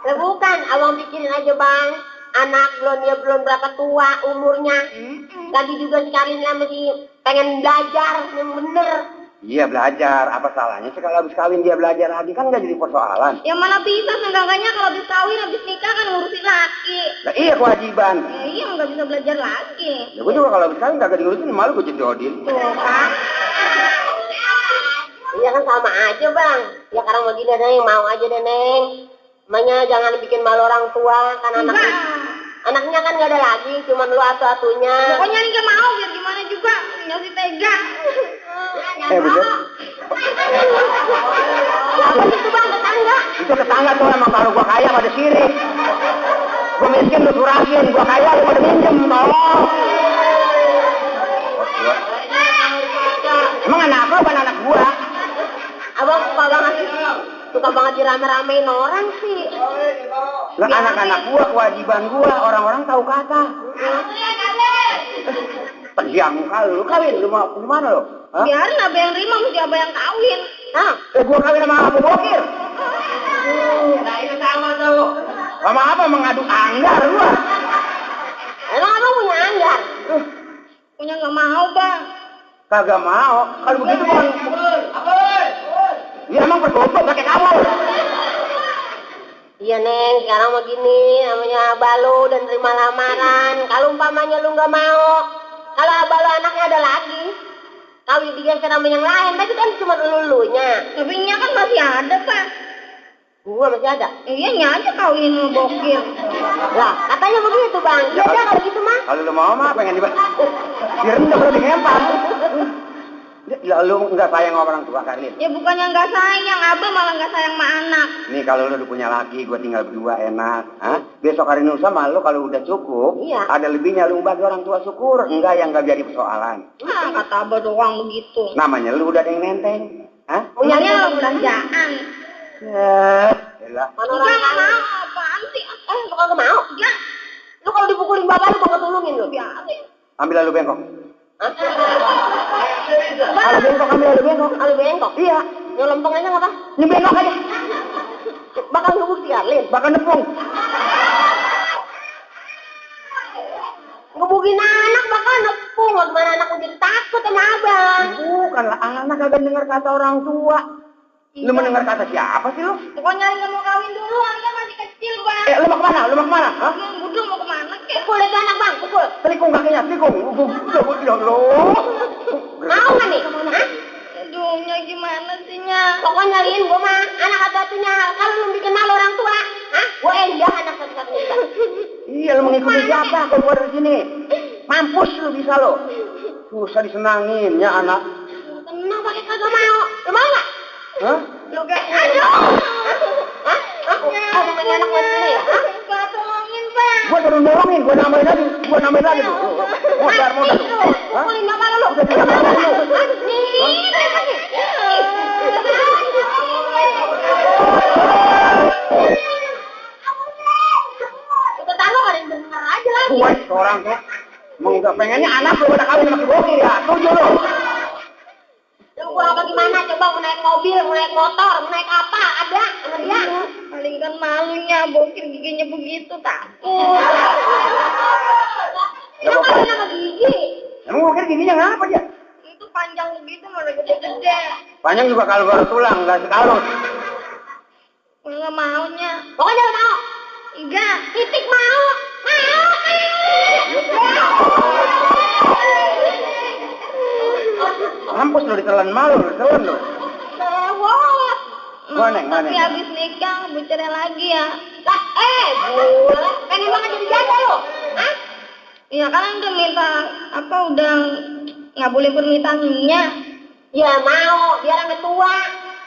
Eh, bukan, abang pikirin aja bang. Anak belum dia belum berapa tua umurnya. Tadi juga sekali masih pengen belajar yang bener.
Iya belajar, apa salahnya sih kalau habis kawin dia belajar lagi kan nggak jadi persoalan.
Ya mana bisa seenggaknya kalau habis kawin, habis nikah kan ngurusin laki.
Nah, iya kewajiban.
Ya, iya nggak bisa belajar lagi.
Ya gua juga kalau habis kawin kagak diurusin malu gua jadi odin.
Tuh kan.
Iya kan sama aja bang. Ya karena mau gini Neng, mau aja deh Neng. Emangnya jangan bikin malu orang tua, kan anak
Enggak.
anaknya kan gak ada lagi, cuman lu atu-atunya.
Pokoknya ini nggak mau biar gimana juga nggak sih tega.
Eh, bener.
Apa itu bang tetangga?
Itu tetangga tuh emang kalau gua kaya pada sirik. Gua miskin lu surahin, gua kaya lu pada minjem, tolong. Emang anak lu bukan anak gua?
Abang suka banget suka banget dirame-ramein orang sih.
Lah anak-anak gua kewajiban gua, orang-orang tahu kata. Tersiang kali lu kawin, lu mau gimana lu? Hah?
Biarin abah yang terima mesti abah yang kawin.
Hah? Eh, gua kawin sama Abu Bokir. Sama apa mengadu anggar gua?
Emang abang punya anggar?
Punya nggak mau bang.
Kagak mau. Kalau begitu kan. Dia emang berbobot pakai kawal.
Iya Neng, sekarang mau gini namanya balu dan terima lamaran. Kalau umpamanya lu nggak mau, kalau abah lu anaknya ada lagi, kawin digeser sama yang lain, tapi kan cuma lulunya.
Tapi nya kan masih ada pak.
Gua masih ada.
Iya nya aja kawin sama bokir.
Lah, katanya begitu bang.
Ya,
Iya dah kalau gitu mah.
Kalau lu mau mah pengen dibahas. Direndam lu dikempar. Ya lu nggak sayang sama orang tua Karlin.
Ya bukannya nggak sayang, abah malah nggak sayang sama anak.
Nih kalau lu udah punya laki, gua tinggal berdua enak. Hah? Besok hari Nusa mah lu kalau udah cukup,
Iya.
ada lebihnya lu bagi orang tua syukur. Enggak yang nggak jadi persoalan.
Nah,
Ah kata abah doang begitu.
Namanya lu udah ada yang nenteng. Hah?
Oh, iya,
Punyanya belanjaan.
Ya, elah.
Mana
Enggak
orang
nggak
tahu.
mau apaan sih?
Eh, lu kagak mau?
Enggak.
Lu kalau dipukulin bapak lu bakal tolongin lu.
Biarin.
Ambil lalu bengkok.
Hah?
Lalu bengkok, ambil lalu bengkok.
Kalau bengkok? Iya. Nyelempeng aja nggak apa?
Ini bengkok aja.
Bakal ngebuk si Arlin.
Bakal nepung.
Ngebukin anak bakal nepung. Gimana anak udah takut sama abang.
Bukanlah anak kagak dengar kata orang tua. Lu
Iya.
mendengar kata siapa sih lu?
Pokoknya Ali nggak mau kawin dulu, Ali kan masih kecil bang.
Eh, lu mau kemana? Lu mau kemana? Hah?
Emang bodoh mau kemana kek?
Pukul itu anak bang, pukul.
Telikung kakinya, telikung. Udah, udah, udah, udah.
Mau nggak nih? Hah?
Aduh, Nya gimana sih Nya?
Pokoknya Lin, gua mah anak satu-satunya. Kalau lu bikin malu orang tua, hah? Gua enggak anak satu-satunya. Bang.
Iya, lu mengikuti siapa keluar dari sini? Mampus lu bisa lo. Susah disenangin ya anak.
Tenang pakai kagak mau. Lu mau nggak?
Hah?
Lu kan aduh.
Hah? Hah?
Nya,
Oh, mau main anak gua dulu ya? Hah?
Pak tolongin Pak.
Gua turun dorongin, gua nambahin lagi, gua nambahin lagi tuh. Modar, modar. Hah?
Pukulin bapak lu.
Udah, udah, udah, udah, udah.
Nih, kenapa sih?
Ketan lo ada yang denger aja lagi.
Kuat orang tuh. Mau nggak ya. pengennya anak lu pada kawin sama si Bokir ya? Setuju lu?
Lu kurang apa gimana? Coba mau naik mobil, mau naik motor, mau naik apa? Ada sama dia? paling kan malunya bokir giginya begitu takut. Emang kalau nama gigi
Emang mungkin giginya ngapa dia?
itu panjang begitu mana gede-gede.
Panjang juga kalau baru tulang, nggak sekalut.
Mana maunya? Pokoknya lo mau. Enggak, titik mau. Mau.
Mampus lu ditelan malu, ditelan lu.
Eh, wow.
Mana,
Nah,
mana?
Tapi habis nikah bercerai lagi ya. Lah, eh, gua pengen banget jadi janda lo. Hah? Ya kan udah minta apa udah nggak boleh permintaannya.
Ya mau, biar anak tua,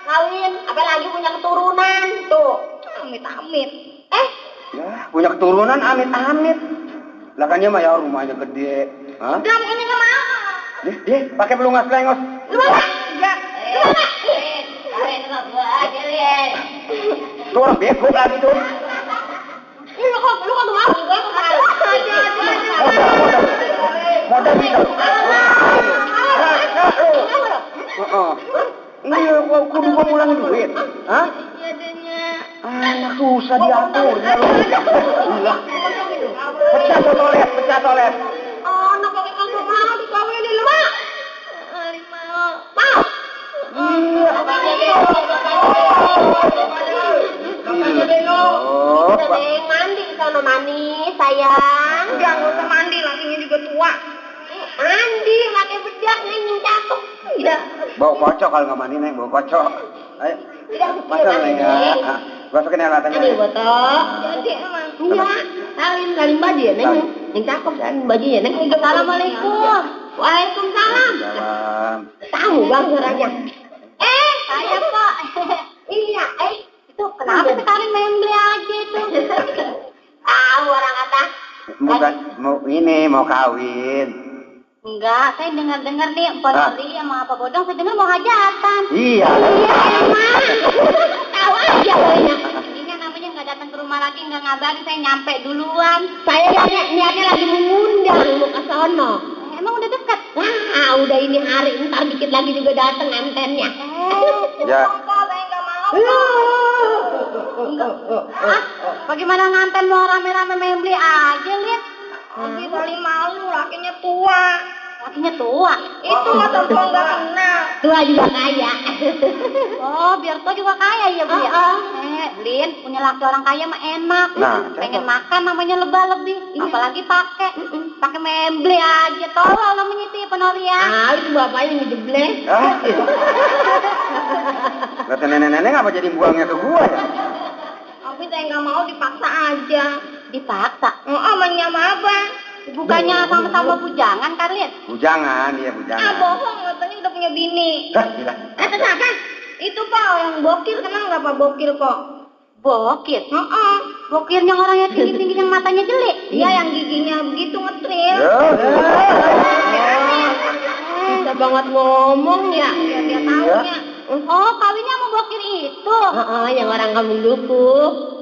kawin, apalagi punya keturunan. Tuh,
Amit-amit. Eh,
Ya, punya keturunan amit-amit. Lah kan dia mah ya rumahnya gede.
udah
Hah?
pokoknya nggak mau.
Dih, dih, pakai pelungas lengos.
Lu mau nggak? Enggak. Lu mau nggak?
kawin sama gua aja, Ren.
Tuh orang bego lagi tuh.
Ih, lu kok, lu kok mau juga ke kawin?
Aja, aja, aja.
Modal, modal. Modal itu. Kakak lu. Heeh. Ini Iya, gua kudu gua mulangin duit. Hah?
Iya, adanya.
Anak susah diatur. Ya lu. Gila. Pecah tuh toilet, pecah toilet.
Oh, anak pakai kagak mau dikawinin lu mak. Ali mau. Mau.
Iya. Oh,
Udah
Pak.
deh, mandi di sana manis, sayang.
Enggak, nggak usah mandi, lakinya juga tua.
Mandi, pakai bedak, nyanyi cakep.
Tidak.
Bau kocok kalau nggak mandi neng, bau kocok. Ayo,
Tidak
masuk
kepikiran,
neng ya.
Neng.
Ah, Masukin alat
Ada
aja.
botok.
Jadi emang.
Iya, salin salin baju ya neng, neng cakep salin baju ya neng. Assalamualaikum, waalaikumsalam.
Salam.
Ya, Tahu bang suaranya.
Eh, saya kok.
Iya, eh itu
Iya.
kenapa sekali membeli aja itu? Tahu orang kata.
Bukan mau ini mau kawin.
Enggak, saya dengar-dengar nih Pak
Ah.
Nuri sama Pak Bodong, saya dengar mau hajatan.
Iya.
Iya emang, tahu aja pokoknya. Ini namanya nggak datang ke rumah lagi nggak ngabarin saya nyampe duluan. Saya niatnya, niatnya lagi mengundang mau ke sono. Emang udah dekat? Nah, udah ini hari ntar dikit lagi juga datang antennya. Eh,
Ya.
Enggak, saya nggak mau.
Ya. Ah, bagaimana nganten mau rame-rame main beli aja lihat.
Abi paling malu, lakinya tua.
Hmm. Lakinya tua.
Itu mata gua nggak kenal.
Tua juga kaya. Oh, biar tua juga kaya ya, Bu. ya? Eh, Lin, punya laki orang kaya mah enak. Hmm,
Nah,
Pengen makan namanya lebah lebih. Apalagi pakai pakai memble aja. Tolol namanya itu ya, penori ya. Ah, itu bapaknya ngejeble.
Ah. Kata nenek-nenek apa jadi buangnya ke gua ya?
Abi saya nggak mau dipaksa aja.
Dipaksa.
Oh, amanya sama abang.
Bukannya sama-sama bujangan kan, Lin?
Bujangan, iya
Ah,
bujangan.
bohong, katanya udah punya bini.
Hah, gila.
Eh, terus apa? Itu pak yang bokir kenal nggak pak bokir kok?
Bokir.
Oh, oh.
Bokir yang orangnya tinggi-tinggi yang matanya Ya. jelik.
Dia yang giginya begitu ngetril.
Yo.
Bisa Ya, banget ngomong ya.
Eh, Biar dia tahunya.
Oh, kawinnya sama bokir itu. Heeh, yang orang kampung duku.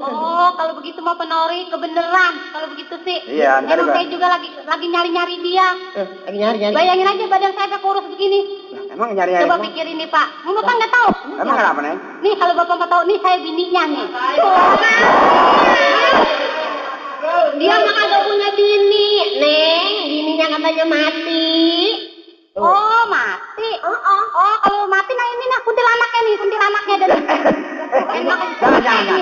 Oh, kalau begitu mau penori kebeneran. Kalau begitu sih.
Iya, ntar juga.
Emang saya juga lagi lagi nyari-nyari dia.
lagi nyari nyari.
Bayangin aja badan saya sampai kurus begini.
Lah, Iya, Emang nyari nyari.
Coba pikirin nih, Pak. Mau Bapak nggak tahu? Iya.
Emang kenapa neng?
Nih, kalau Bapak nggak tahu, nih saya bininya nih.
Dia mah kagak punya bini, Neng. Bininya katanya mati.
Oh, mati. Oh, oh. kalau mati nah ini nah kuntilanaknya nih, kuntilanaknya jadi.
Jangan, jangan, jangan.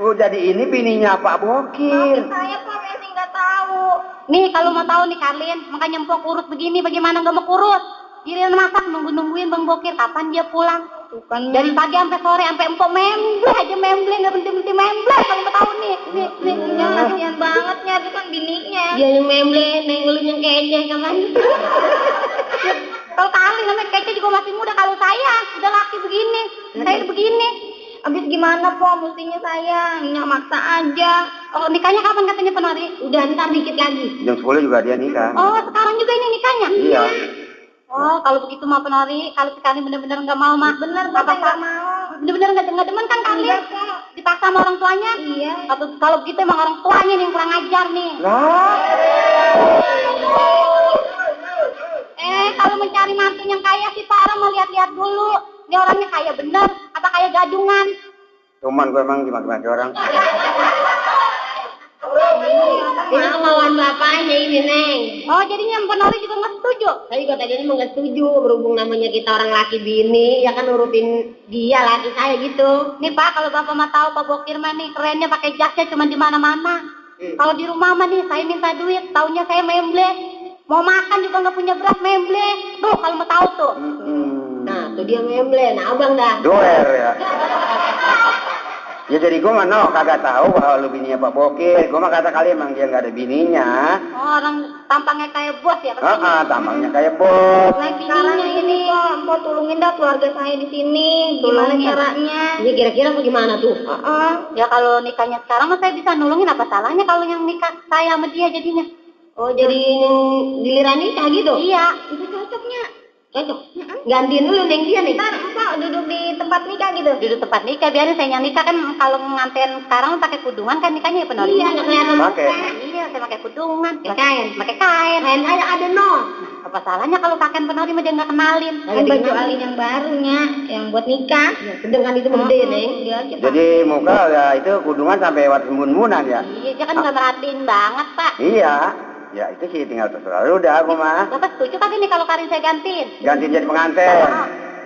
Oh, jadi ini bininya Pak Bokir.
Saya kok masih nggak tahu.
Nih kalau mau tahu nih Karlin, makanya empok kurus begini bagaimana nggak mau kurus? Giliran masak nunggu-nungguin Bang Bokir kapan dia pulang.
Bukan
Dari pagi sampai sore sampai empok memble aja memble nggak berhenti-berhenti memble kalau mau tahu nih. Nih, nih,
Iya, kasihan banget ya,
kan
bukan bininya.
yang memble, neng lu yang kece kapan? kalau Karlin namanya kece juga masih muda kalau saya udah laki begini, saya begini.
Abis Iya. gimana, Po? Mestinya saya nyak maksa aja.
Oh nikahnya kapan katanya penari? Udah ntar dikit lagi.
Jam 10 juga dia nikah.
Oh sekarang juga ini nikahnya?
Iya.
Oh, kalau begitu mah penari, kalau sekali bener-bener nggak mau mah. Bener,
Bapak nggak mau.
Bener-bener nggak nggak demen kan kali?
Enggak, Kak.
Dipaksa sama orang tuanya?
Iya.
Kalau, kalau begitu emang orang tuanya nih yang kurang ajar nih.
Lah,
Eh, kalau mencari mantu yang kaya sih Pak Ara mau lihat-lihat dulu. Ini orangnya kaya bener, apa kaya gadungan?
Cuman gue emang dimaki-maki orang.
Ini kemauan bapaknya ini, Neng.
Oh, jadinya Mpok Nori juga nggak setuju.
Saya juga tadi emang gak setuju berhubung namanya kita orang laki bini, ya kan nurutin dia laki saya gitu.
Nih Pak, kalau Bapak mah tahu Pak Bokir mah nih kerennya pakai jasnya cuma di mana-mana. Kalau di rumah mah nih saya minta duit, taunya saya memble. Mau makan juga nggak punya beras memble. Duh, kalau mau tahu tuh.
Hmm.
Nah, tuh dia memble, nah abang dah.
Doer ya. Ya jadi gue mah no, kagak tahu bahwa lu bininya Pak Bokir. Gue mah kata kali emang dia nggak ada bininya.
Oh, orang tampangnya kayak bos ya.
Ah, ah, tampangnya kayak bos.
Nah,
Sekarang
bininya ini, Pak, Mpok tulungin dah keluarga saya di sini. Gimana
Tulungin.
caranya?
Ini kira-kira bagaimana tuh?
Heeh. Ya kalau nikahnya sekarang mah saya bisa nulungin apa salahnya kalau yang nikah saya sama dia jadinya.
Oh, jadi yang giliran nikah gitu?
Iya, itu cocoknya.
Cocok. Gantiin dulu neng dia nih.
Ntar Pak duduk di tempat nikah gitu. Duduk tempat nikah biarin saya yang nikah kan kalau nganten sekarang pakai kudungan kan nikahnya ya penolak.
Iya, nggak kelihatan
Pakai.
muka.
Iya, saya pakai kudungan,
Pakai kain.
pakai kain. Nah,
Kain aja ada no.
Apa salahnya kalau pakaian penari mah dia nggak kenalin?
Kan baju alin
yang barunya, yang buat nikah.
Ya, sedangkan itu mah gede, Neng.
Dia aja, Pak.
Jadi muka ya itu kudungan sampai lewat sembun-sembunan ya.
Iya, dia kan nggak merhatiin banget, Pak.
Iya. Ya itu sih tinggal terserah lu dah gue mah.
Bapak setuju kagak nih kalau karin saya gantiin?
Ganti jadi pengantin.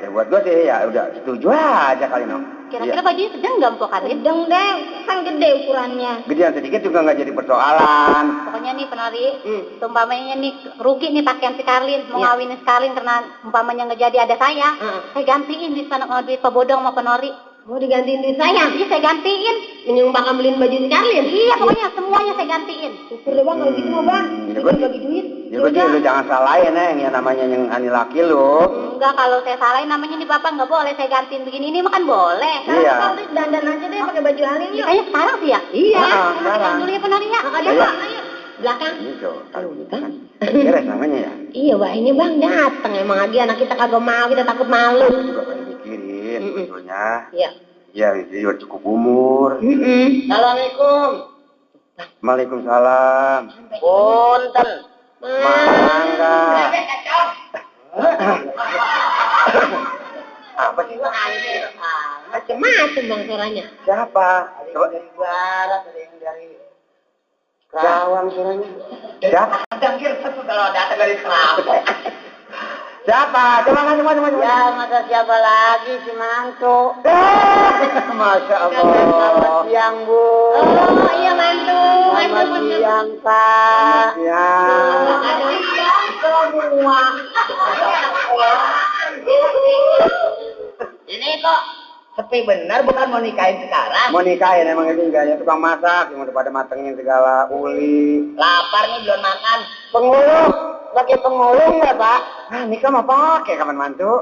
Ya buat gue sih ya udah setuju aja kali no.
Kira-kira
Iya.
bajunya sedang nggak Mpok Karin?
Sedang deh, kan gede ukurannya.
Gedean sedikit juga nggak jadi persoalan.
Pokoknya nih penari,
Hmm.
umpamanya nih rugi nih pakaian si Karlin, mau ngawinin si Karlin karena umpamanya nggak jadi ada saya.
Heeh.
Saya gantiin di sana duit pebodong sama penori.
Mau digantiin duit saya?
Iya saya gantiin.
Menyumbang bakal beliin baju sekalian?
Iya pokoknya semuanya saya gantiin.
Syukur deh bang, kalau gitu mah bang.
Hmm,
Kita
ya, Bang.
bagi duit.
Ya gue sih lu jangan salahin neng yang namanya yang ani laki lu.
Enggak kalau saya salahin namanya nih bapak nggak boleh saya gantiin begini ini makan boleh.
Iya.
dandan aja deh pakai baju halin yuk.
Kayaknya sekarang sih ya.
Iya.
Ah,
Makan
sekarang.
dulu ya penari ya.
Makanya
Iya.
pak, ayo. Belakang.
Gitu. Kalau gitu kan. Beres namanya ya.
Iya wah ini bang dateng emang lagi anak kita kagak mau kita takut malu.
Juga pengen mikirin
Mm-mm.
sebetulnya.
Iya.
Ya jadi udah cukup umur.
Mm-mm.
Assalamualaikum.
Waalaikumsalam.
Punten.
Mangga. Apa sih?
Macem-macem bang suaranya.
Siapa? Coba
barat, ada yang dari
Gawang suaranya. Siapa?
Dangkir satu kalau datang dari Kerawang.
Siapa? Coba kan coba coba coba.
Ya, masa siapa lagi si Mantu?
Eh, Masya
Selamat
Allah.
siang, Bu.
Oh iya mantu, mantu
Selamat
mantu.
siang, Pak.
Ya.
Makasih ya semua.
Ini kok sepi bener bukan mau nikahin sekarang.
Mau nikahin emang itu enggak ya tukang masak yang udah pada matengin segala uli.
Lapar nih belum makan.
Pengulung, pakai pengulung
ya,
nggak pak? Ah nikah mah pakai kapan mantu?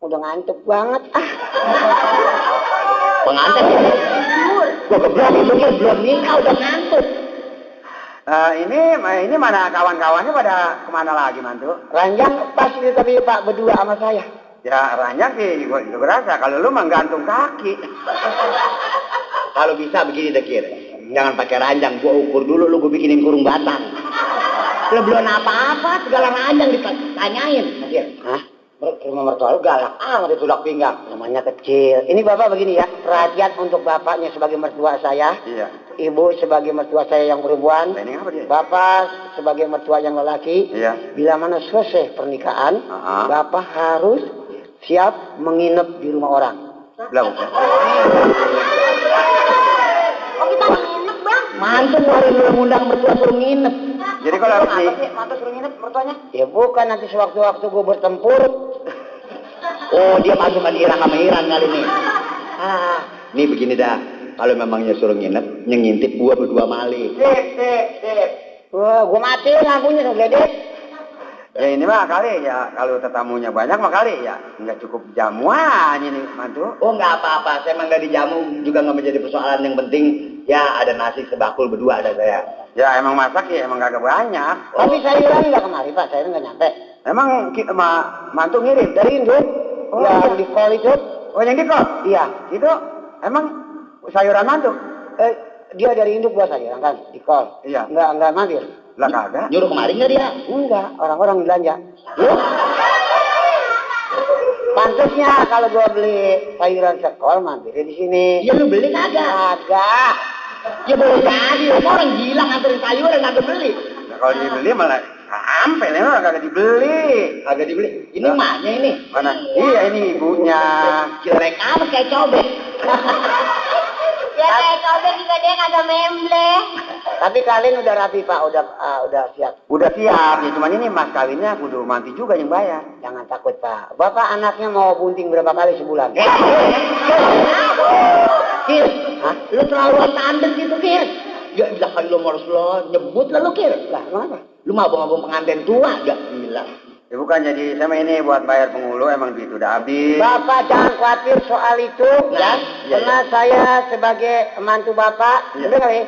Udah ngantuk banget. Ah,
Pengantin. Gua keberani lu mah belum nikah udah ngantuk.
Eh ini ini mana kawan-kawannya pada kemana lagi mantu?
ranjang pas di tepi Pak berdua sama saya.
Ya ranjang sih gua juga berasa kalau lu mah gantung kaki.
Kalau bisa begini dekir. Jangan pakai ranjang, gua ukur dulu lu gua bikinin kurung batang. Lu belum apa-apa, segala ranjang ditanyain. Dekir.
Hah?
Mer- Rumah mertua lu galak amat itu udah pinggang.
Namanya kecil. Ini Bapak begini ya, perhatian untuk Bapaknya sebagai mertua saya,
Iya.
Ibu sebagai mertua saya yang perempuan,
Nah, ini apa dia?
Bapak sebagai mertua yang lelaki,
Iya.
bila mana selesai pernikahan,
Ah.
Bapak harus siap menginap di rumah orang.
Belum. ya.
Oh kita nginep bang.
Mantu hari belum undang mertua suruh nginep.
Jadi kalau harus nih,
Mantu suruh nginep mertuanya.
Ya bukan nanti sewaktu-waktu gue bertempur.
Oh, dia pasukan Irak sama Iran kali ini. Ah, nih begini dah. Kalau memangnya suruh nginep, yang ngintip gua berdua maling.
Sip, sip, sip. Wah, gue mati lampunya dong, gledek.
ya ini mah kali ya kalau tetamunya banyak mah kali ya nggak cukup jamuan ini mantu.
Oh, nggak apa-apa. Saya emang nggak dijamu juga nggak menjadi persoalan yang penting. Ya, ada nasi sebakul berdua ada saya. Oh.
Ya emang masak ya emang kagak banyak.
Tapi sayuran nggak kemari, Pak. Sayuran nggak nyampe.
Emang ki- ma, mantu ngirim dari
Dari Induk,
Oh,
yang
iya.
Ya, di call itu,
Oh yang di kok?
iya.
Itu emang sayuran mantu?
Eh, dia dari Induk gua
ya,
sayuran kan, di call.
Iya.
Nggak, nggak mampir.
Lah kagak.
Nyuruh kemarin nggak dia?
Enggak, orang-orang belanja. Pantasnya kalau gua beli sayuran sekol mampirnya di sini.
Iya,
Ya lu beli kagak?
Agak.
Ya boleh jadi, orang gila nganterin sayuran kagak beli.
Nah, kalau dibeli malah sampai lah orang kagak dibeli. Kagak dibeli.
Ini mahnya ini.
Mana? Iya ini ibunya.
Jelek apa kayak cobek.
Ya kayak cobek juga dia kagak membleh.
Tapi kalian udah rapi Pak, udah ah, udah siap.
Udah siap, ya cuman ini mas kawinnya kudu manti juga yang bayar.
Jangan takut Pak. Bapak anaknya mau bunting berapa kali sebulan?
Eh, Kir, lu terlalu standar gitu Kir. Ya gila kali lu harus lo nyebut lah lu Kir. Lah kenapa? Lu mah abang-abang pengantin tua gak gila.
Ya bukan jadi sama ini buat bayar penghulu emang duit udah habis.
Bapak jangan khawatir soal itu
Nah,
ya.
iya,
Karena saya sebagai mantu Bapak,
Iya.
bener kali?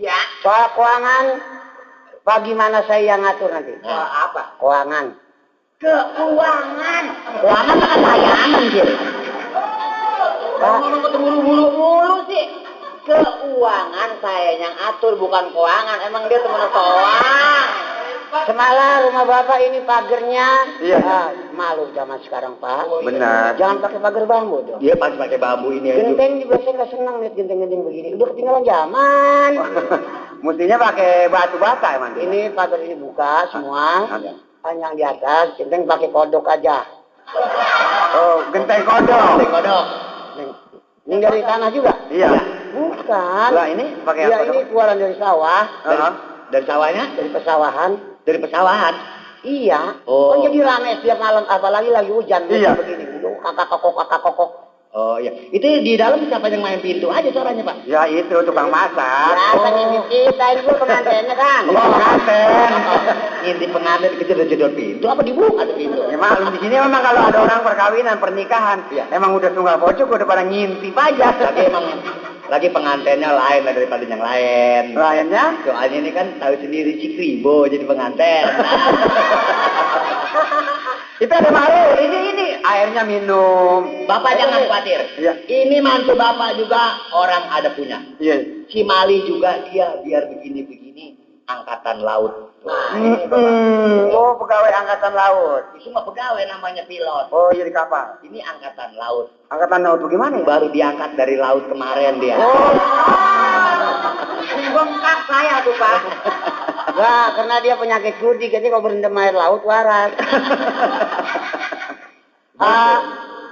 Iya.
Soal keuangan bagaimana saya yang ngatur nanti?
Soal apa?
Keuangan.
Keuangan. Keuangan kan layanan Kir.
Pak,
Ngomong terburu-buru mulu sih. Keuangan saya yang atur bukan keuangan. Emang dia temen soang.
semalam rumah Bapak ini pagernya
Iya.
ah, malu zaman sekarang, Pak.
Benar. Iya,
Jangan pakai pagar bambu dong.
Dia Iya, pas pakai bambu ini aja.
Genteng juga saya nggak senang lihat genteng-genteng begini. Udah ketinggalan zaman.
Mestinya pakai batu bata emang. dia.
Ini pagar ini buka semua.
Ada.
Panjang di atas, genteng pakai kodok aja.
Oh, genteng kodok. Genteng kodok.
Neng, neng dari tanah juga?
Iya.
Bukan.
Lah, ini pakai
ya,
apa
ini
dong?
keluaran dari sawah,
Dari, dari sawahnya?
dari pesawahan.
Dari pesawahan.
Iya.
Oh.
Kan jadi rame setiap malam, apalagi lagi hujan.
Iya.
Begini, Duh, kakak kokok, kakak kokok.
Oh iya.
Itu di dalam siapa yang main pintu aja suaranya Pak.
Ya itu tukang masak.
Ya, kan ini kita, ini gue pengantinnya kan.
Oh, pengantin.
Ngintip pengantin kejedor-jedor pintu apa dibuka tuh pintu?
Ya maklum di sini memang kalau ada orang perkawinan, pernikahan,
Iya.
emang udah tunggal pocong udah pada ngintip aja.
Lagi emang lagi pengantinnya lain lah daripada yang lain.
Lainnya
Soalnya ini kan tahu sendiri Cikribo jadi pengantin.
itu ada malu, ini ini airnya minum.
Bapak jangan khawatir.
Iya.
Ini mantu Bapak juga orang ada punya.
Iya.
Si Mali juga dia biar begini-begini angkatan laut. Wah, ini Bapak.
Mm-mm. Oh pegawai angkatan laut.
Itu mah pegawai namanya pilot.
Oh iya di kapal.
Ini angkatan laut.
Angkatan laut bagaimana ya? Oh.
Baru diangkat dari laut kemarin dia.
Bengkak saya tuh pak.
Wah, karena dia penyakit kudi, jadi kalau berendam air laut waras. Ah,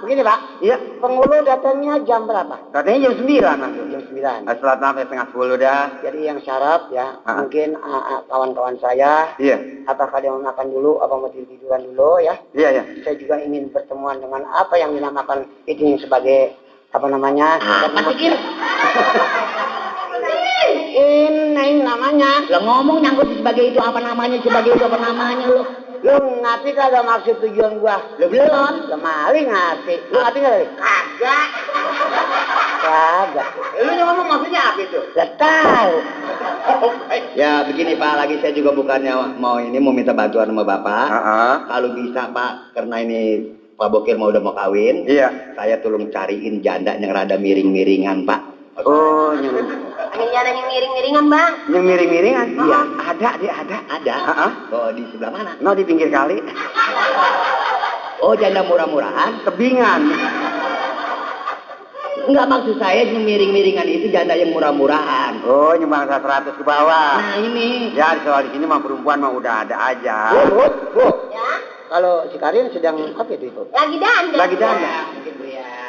begini Pak,
Iya.
penghulu datangnya jam berapa?
Katanya jam 9 mas.
Jam 9.
Nah, Setelah sampai setengah 10 dah.
Jadi yang sarap ya,
Ah.
mungkin ah, ah, kawan-kawan saya,
Iya.
apakah dia mau makan dulu, apa mau tidur tiduran dulu ya?
Iya ya.
Saya juga ingin bertemuan dengan apa yang dinamakan itu sebagai apa namanya?
Apa sih, Kir?
ini namanya.
Lah ngomong nyangkut sebagai itu apa namanya, sebagai itu apa namanya lu.
Lu ngerti kagak maksud tujuan gua?
Lu belum.
Lu maling ngerti. Lu ngerti nggak? Li?
Kagak.
Kagak.
Lu ngomong maksudnya apa itu?
Lah tahu.
Ya begini Pak, lagi saya juga bukannya mau ini mau minta bantuan sama Bapak.
Heeh.
Kalau bisa Pak, karena ini Pak Bokir mau udah mau kawin,
Iya.
saya tolong cariin janda yang rada miring-miringan Pak.
Oh yang
Angin jalan yang miring-miringan bang.
yang miring-miringan? Ah,
Iya.
Ada dia ada.
Ada?
Heeh.
Oh di sebelah mana?
No di pinggir kali.
Oh janda murah-murahan?
Tebingan.
Enggak maksud saya yang miring-miringan itu janda yang murah-murahan.
Oh nyumbang 100 ke bawah.
Nah ini. Oh,
Ya soal di sini mah perempuan mah udah ada aja.
Bu, bu, bu.
Ya.
Kalau si Karin sedang apa itu itu?
Lagi dandan.
Lagi dana.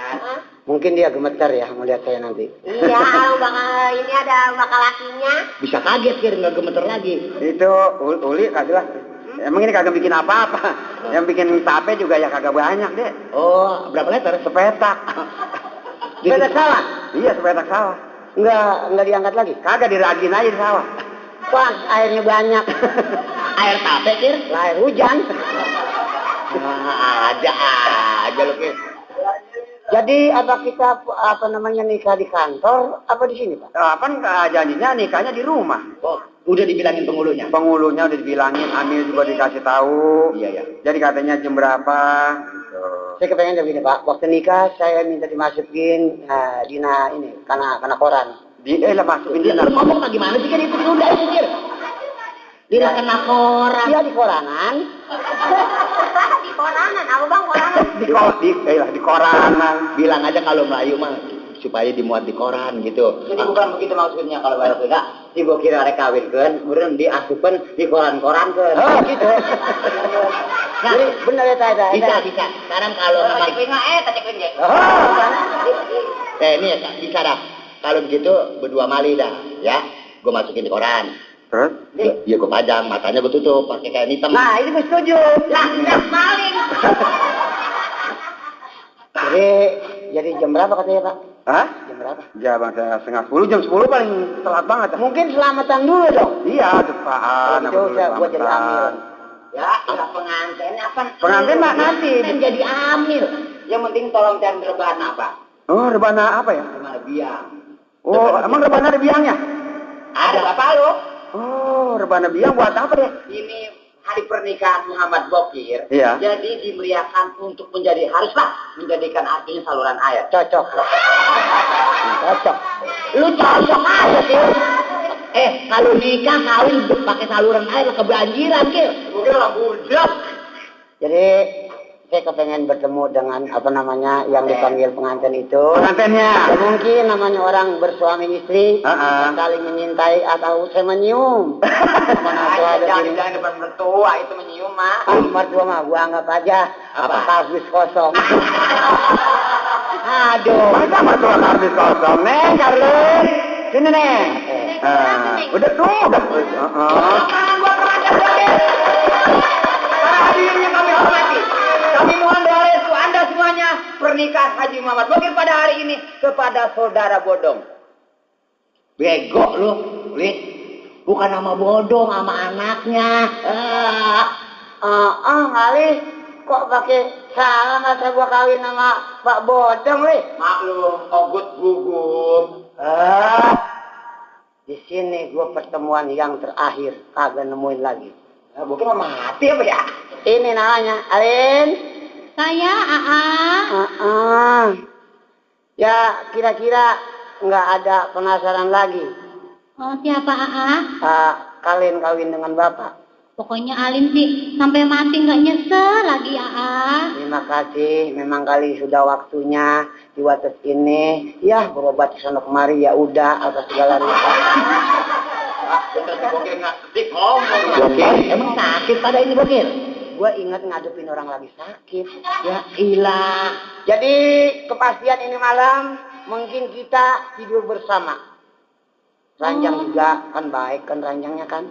Hah?
Mungkin dia gemetar ya melihat saya nanti.
Iya, bakal ini ada bakal lakinya.
Bisa kaget Kir, nggak gemeter lagi.
Itu ul- uli kagak lah. Emang ini kagak bikin apa-apa. Yang bikin tape juga ya kagak banyak deh.
Oh berapa letter?
Sepetak.
Beda salah.
iya sepetak sawah.
Enggak, enggak diangkat lagi.
Kagak diragin aja di sawah.
Pas airnya banyak.
Air tape Kir?
Lah, air hujan.
Ah, ada aja lu Kir.
Jadi apa kita apa namanya nikah di kantor apa di sini, Pak?
Nah, kan eh, janjinya nikahnya di rumah.
Oh, udah dibilangin penghulunya?
Penghulunya udah dibilangin, Amir juga dikasih tahu.
Iya ya.
Jadi katanya jam berapa? Gitu.
Saya kepengen begini, Pak. Waktu nikah saya minta dimasukin eh, dina ini karena karena koran.
Di, eh lah masukin
Lu
dia.
lu ngomong bagaimana
Kan
sih Kir? Itu udah itu
Iya.
Kir. Dia kena koran.
Dia di koranan.
di koranan, apa bang koranan?
di ko- di, eh lah, di koran Mang. bilang aja kalau Melayu mah supaya dimuat di koran gitu
Jadi bukan begitu maksudnya kalau baru tidak, si gua kira ada kawin kan, kemudian diasupan di koran-koran kan.
oh gitu
Nah.
Nah,
Jadi benar ya tadi.
bisa bisa sekarang kalau memang
eh, tak cek wing
Oh, kan? eh ini ya, bisa dah kalau begitu berdua mali dah ya gue masukin di koran
Terus?
Gua- ya gue pajang matanya gue tutup pakai kain hitam
Nah, ini gue setuju.
Lah, udah maling.
Jadi,
Eh,
jadi jam berapa katanya Pak?
Hah?
Jam berapa?
Ya bang, saya setengah sepuluh, jam sepuluh paling telat banget. dah.
Mungkin selamatan dulu dong.
Iya, aduh Pak.
Kalau gitu saya buat jadi amil.
Ya, ya pengantin apa?
Pengantin, Mbak, nanti.
Pengantin jadi amil.
Yang penting tolong jangan rebana Pak.
Oh, rebana apa ya?
Rebana biang.
Oh, emang rebana ada biangnya?
Ada apa lo?
Oh, rebana biang buat apa ya?
Ini hari pernikahan Muhammad Bokir.
Iya.
Jadi dimeriahkan untuk menjadi haruslah menjadikan artinya saluran air.
Cocok. Cocok.
Lu cocok aja, Kil. Eh, kalau nikah kawin pakai saluran air kebanjiran, Kil.
Mungkin orang budak.
Jadi saya kepengen bertemu dengan apa namanya yang dipanggil pengantin itu. Ya,
Pengantinnya.
mungkin namanya orang bersuami istri
Ah, ah.
saling menyintai atau semenyum. Mana
Nah,
tuh ada
jangan
sini.
jangan depan mertua itu menyium mak.
Ah, mertua mah gua anggap aja
Apa?
kardus kosong. Aduh.
Masa mertua kardus kosong? Neng, kardus. Sini, Neng.
Neng,
Eh,
kenapa, Neng?
udah tuh, udah. Heeh.
Para hadirin yang kami hormati, kami mohon doa restu Anda semuanya pernikahan Haji Muhammad Bokir pada hari ini kepada saudara bodong.
Bego lu, Lid. Bukan sama bodong, sama anaknya.
Eh,
Ah, ah, ah, kali kok pakai salah masa gua kawin sama Pak Bodong, weh.
Maklum, ogut gugup.
Ah,
Eh,
di sini gua pertemuan yang terakhir, kagak nemuin lagi. Ya,
Nah, Bokir mah mati apa ya?
Ini namanya, Alin.
Saya Aa.
Ah, ah. Ya, kira-kira nggak ada penasaran lagi.
Oh, siapa Aa?
Ah, kalian kawin dengan Bapak.
Pokoknya Alin sih sampai mati nggak nyesel lagi Aa.
Terima kasih, memang kali sudah waktunya di wates ini. Ya, berobat ke sana kemari ya udah atas segala rupa.
Bentar si Bokir nggak ketik ngomong.
Bokir, emang sakit pada ini, Bokir?
Gue ingat ngadepin orang lagi sakit.
Ya, ilah.
Jadi kepastian ini malam mungkin kita tidur bersama. Ranjang juga kan baik kan ranjangnya kan.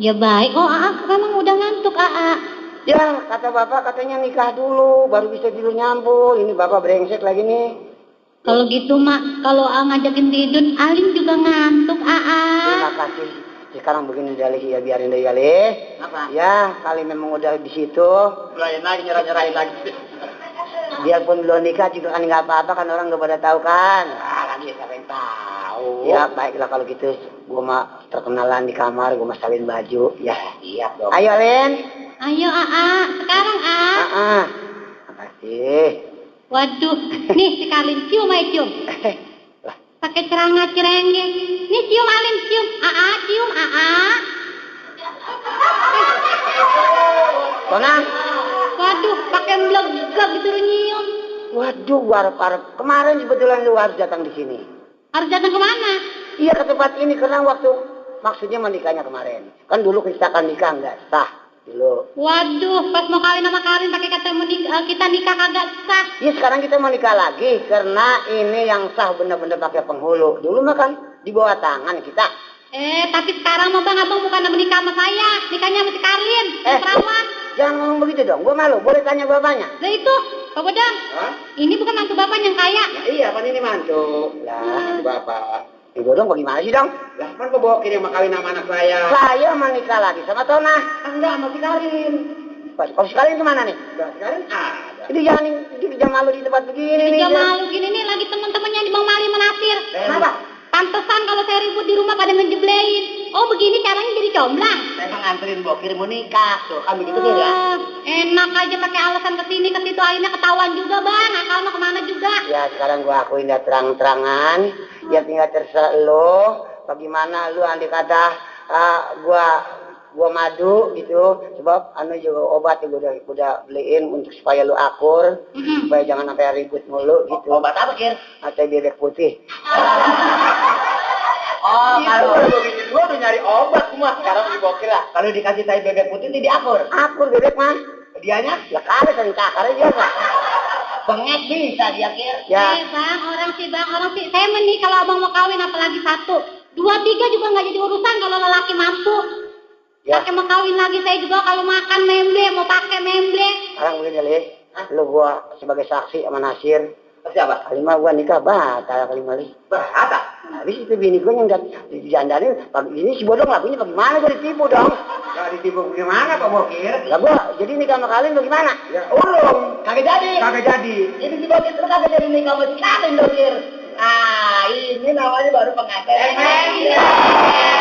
Ya baik, oh Aa memang udah ngantuk Aa.
Ya kata bapak katanya nikah dulu baru bisa tidur nyambung. Ini bapak brengsek lagi nih.
Kalau gitu mak, kalau A ngajakin tidur, Alin juga ngantuk Aa.
Ah.
Terima kasih. Sekarang begini Dalih ya biarin deh Dalih.
Apa?
Ya kali memang udah di situ.
Lain lagi nyerah-nyerahin lagi.
Biarpun belum nikah juga kan nggak apa-apa kan orang nggak pada tahu kan.
Ah, lagi siapa yang tahu?
Ya baiklah kalau gitu. Gue mah terkenalan di kamar gue mah salin baju ya.
iya dong.
Ayo Lin.
Ayo Aa, sekarang A.
Ah, ah. Makasih.
Waduh, nih sekalian cium ayo cium. Pakai ceranga cerenge. Nih cium Alin, cium Aa, cium Aa.
Sona,
Waduh, pakai melegak disuruh nyium.
waduh, warap-warap. Kemarin kebetulan lu harus datang di sini.
Harus datang kemana?
Iya ke tempat ini karena waktu maksudnya menikahnya kemarin. Kan dulu kita kan nikah nggak sah dulu.
Waduh, pas mau kawin sama Karin pakai kata menik- eh, kita nikah kagak sah.
Iya sekarang kita menikah lagi karena ini yang sah bener-bener pakai penghulu. Dulu mah kan di bawah tangan kita.
Eh, tapi sekarang mah bang, abang bukan menikah sama saya, nikahnya sama si Karin,
Eh.
eh. perawan.
Jangan ngomong begitu dong, gua malu. Boleh tanya bapaknya?
Lah itu, Pak Bodang,
Hah?
ini bukan mantu bapak yang kaya.
Iya, kan ini mantu. Lah, bapak.
Ibu dong bagaimana sih dong?
Lah, kan kok bawa kirim sama kawin sama anak saya?
Saya menikah lagi sama Tona. Ah,
Enggak, sama si Karin.
Kalau sekalian kemana nih?
Nah, si Karin ada.
Itu jangan di di jam malu di tempat begini
Iya,
nih.
Dia malu gini nih lagi teman-temannya di Bang Mali menasir.
Eh.
Kenapa?
Pantesan kalau saya ribut di rumah pada ngejeblein. Oh begini caranya jadi comblang.
Saya emang nganterin Bokir mau nikah. Tuh, kan begitu tuh ya.
Ah, enak aja pakai alasan kesini ke situ akhirnya ketahuan juga bang. Akal mah kemana juga.
Ya sekarang gua akuin dah terang-terangan, ya tinggal terserah lo. Bagaimana lu andai kata ah, gua
gua madu gitu sebab anu juga obat juga udah udah beliin untuk supaya lu akur supaya jangan sampai ribut mulu gitu
Obat apa, Kir?
atau bebek putih
Oh, kalau lu gini gua udah nyari obat cuma sekarang dibokir lah. Kalau dikasih tai bebek putih dia diakur.
akur bebek mah
Dianya
ya kali kan kakarnya dia mah
bengek bisa dia, Kir.
ya
Eh bang, orang sih bang, orang sih. Saya mending kalau abang mau kawin apalagi satu. Dua tiga juga nggak jadi urusan kalau lelaki mampu.
Ya.
Pakai mau kawin lagi saya juga kalau makan memble, mau pakai memble.
sekarang begini lih lu gua sebagai saksi sama Nasir
Siapa?
Kalimah gua nikah batal kalimah lih
Berapa?
habis itu bini gua yang di jandanya pagi ini si bodong lakunya bagaimana gua ditipu dong
Jangan ditipu gimana, Pak Bokir?
lah gua jadi nikah sama Kalim bagaimana
Ya, ulung. Kagak jadi. Kagak jadi. Ini si Bokir tuh kagak jadi nikah sama si Karin, Dokir. Ah, ini namanya baru pengacara.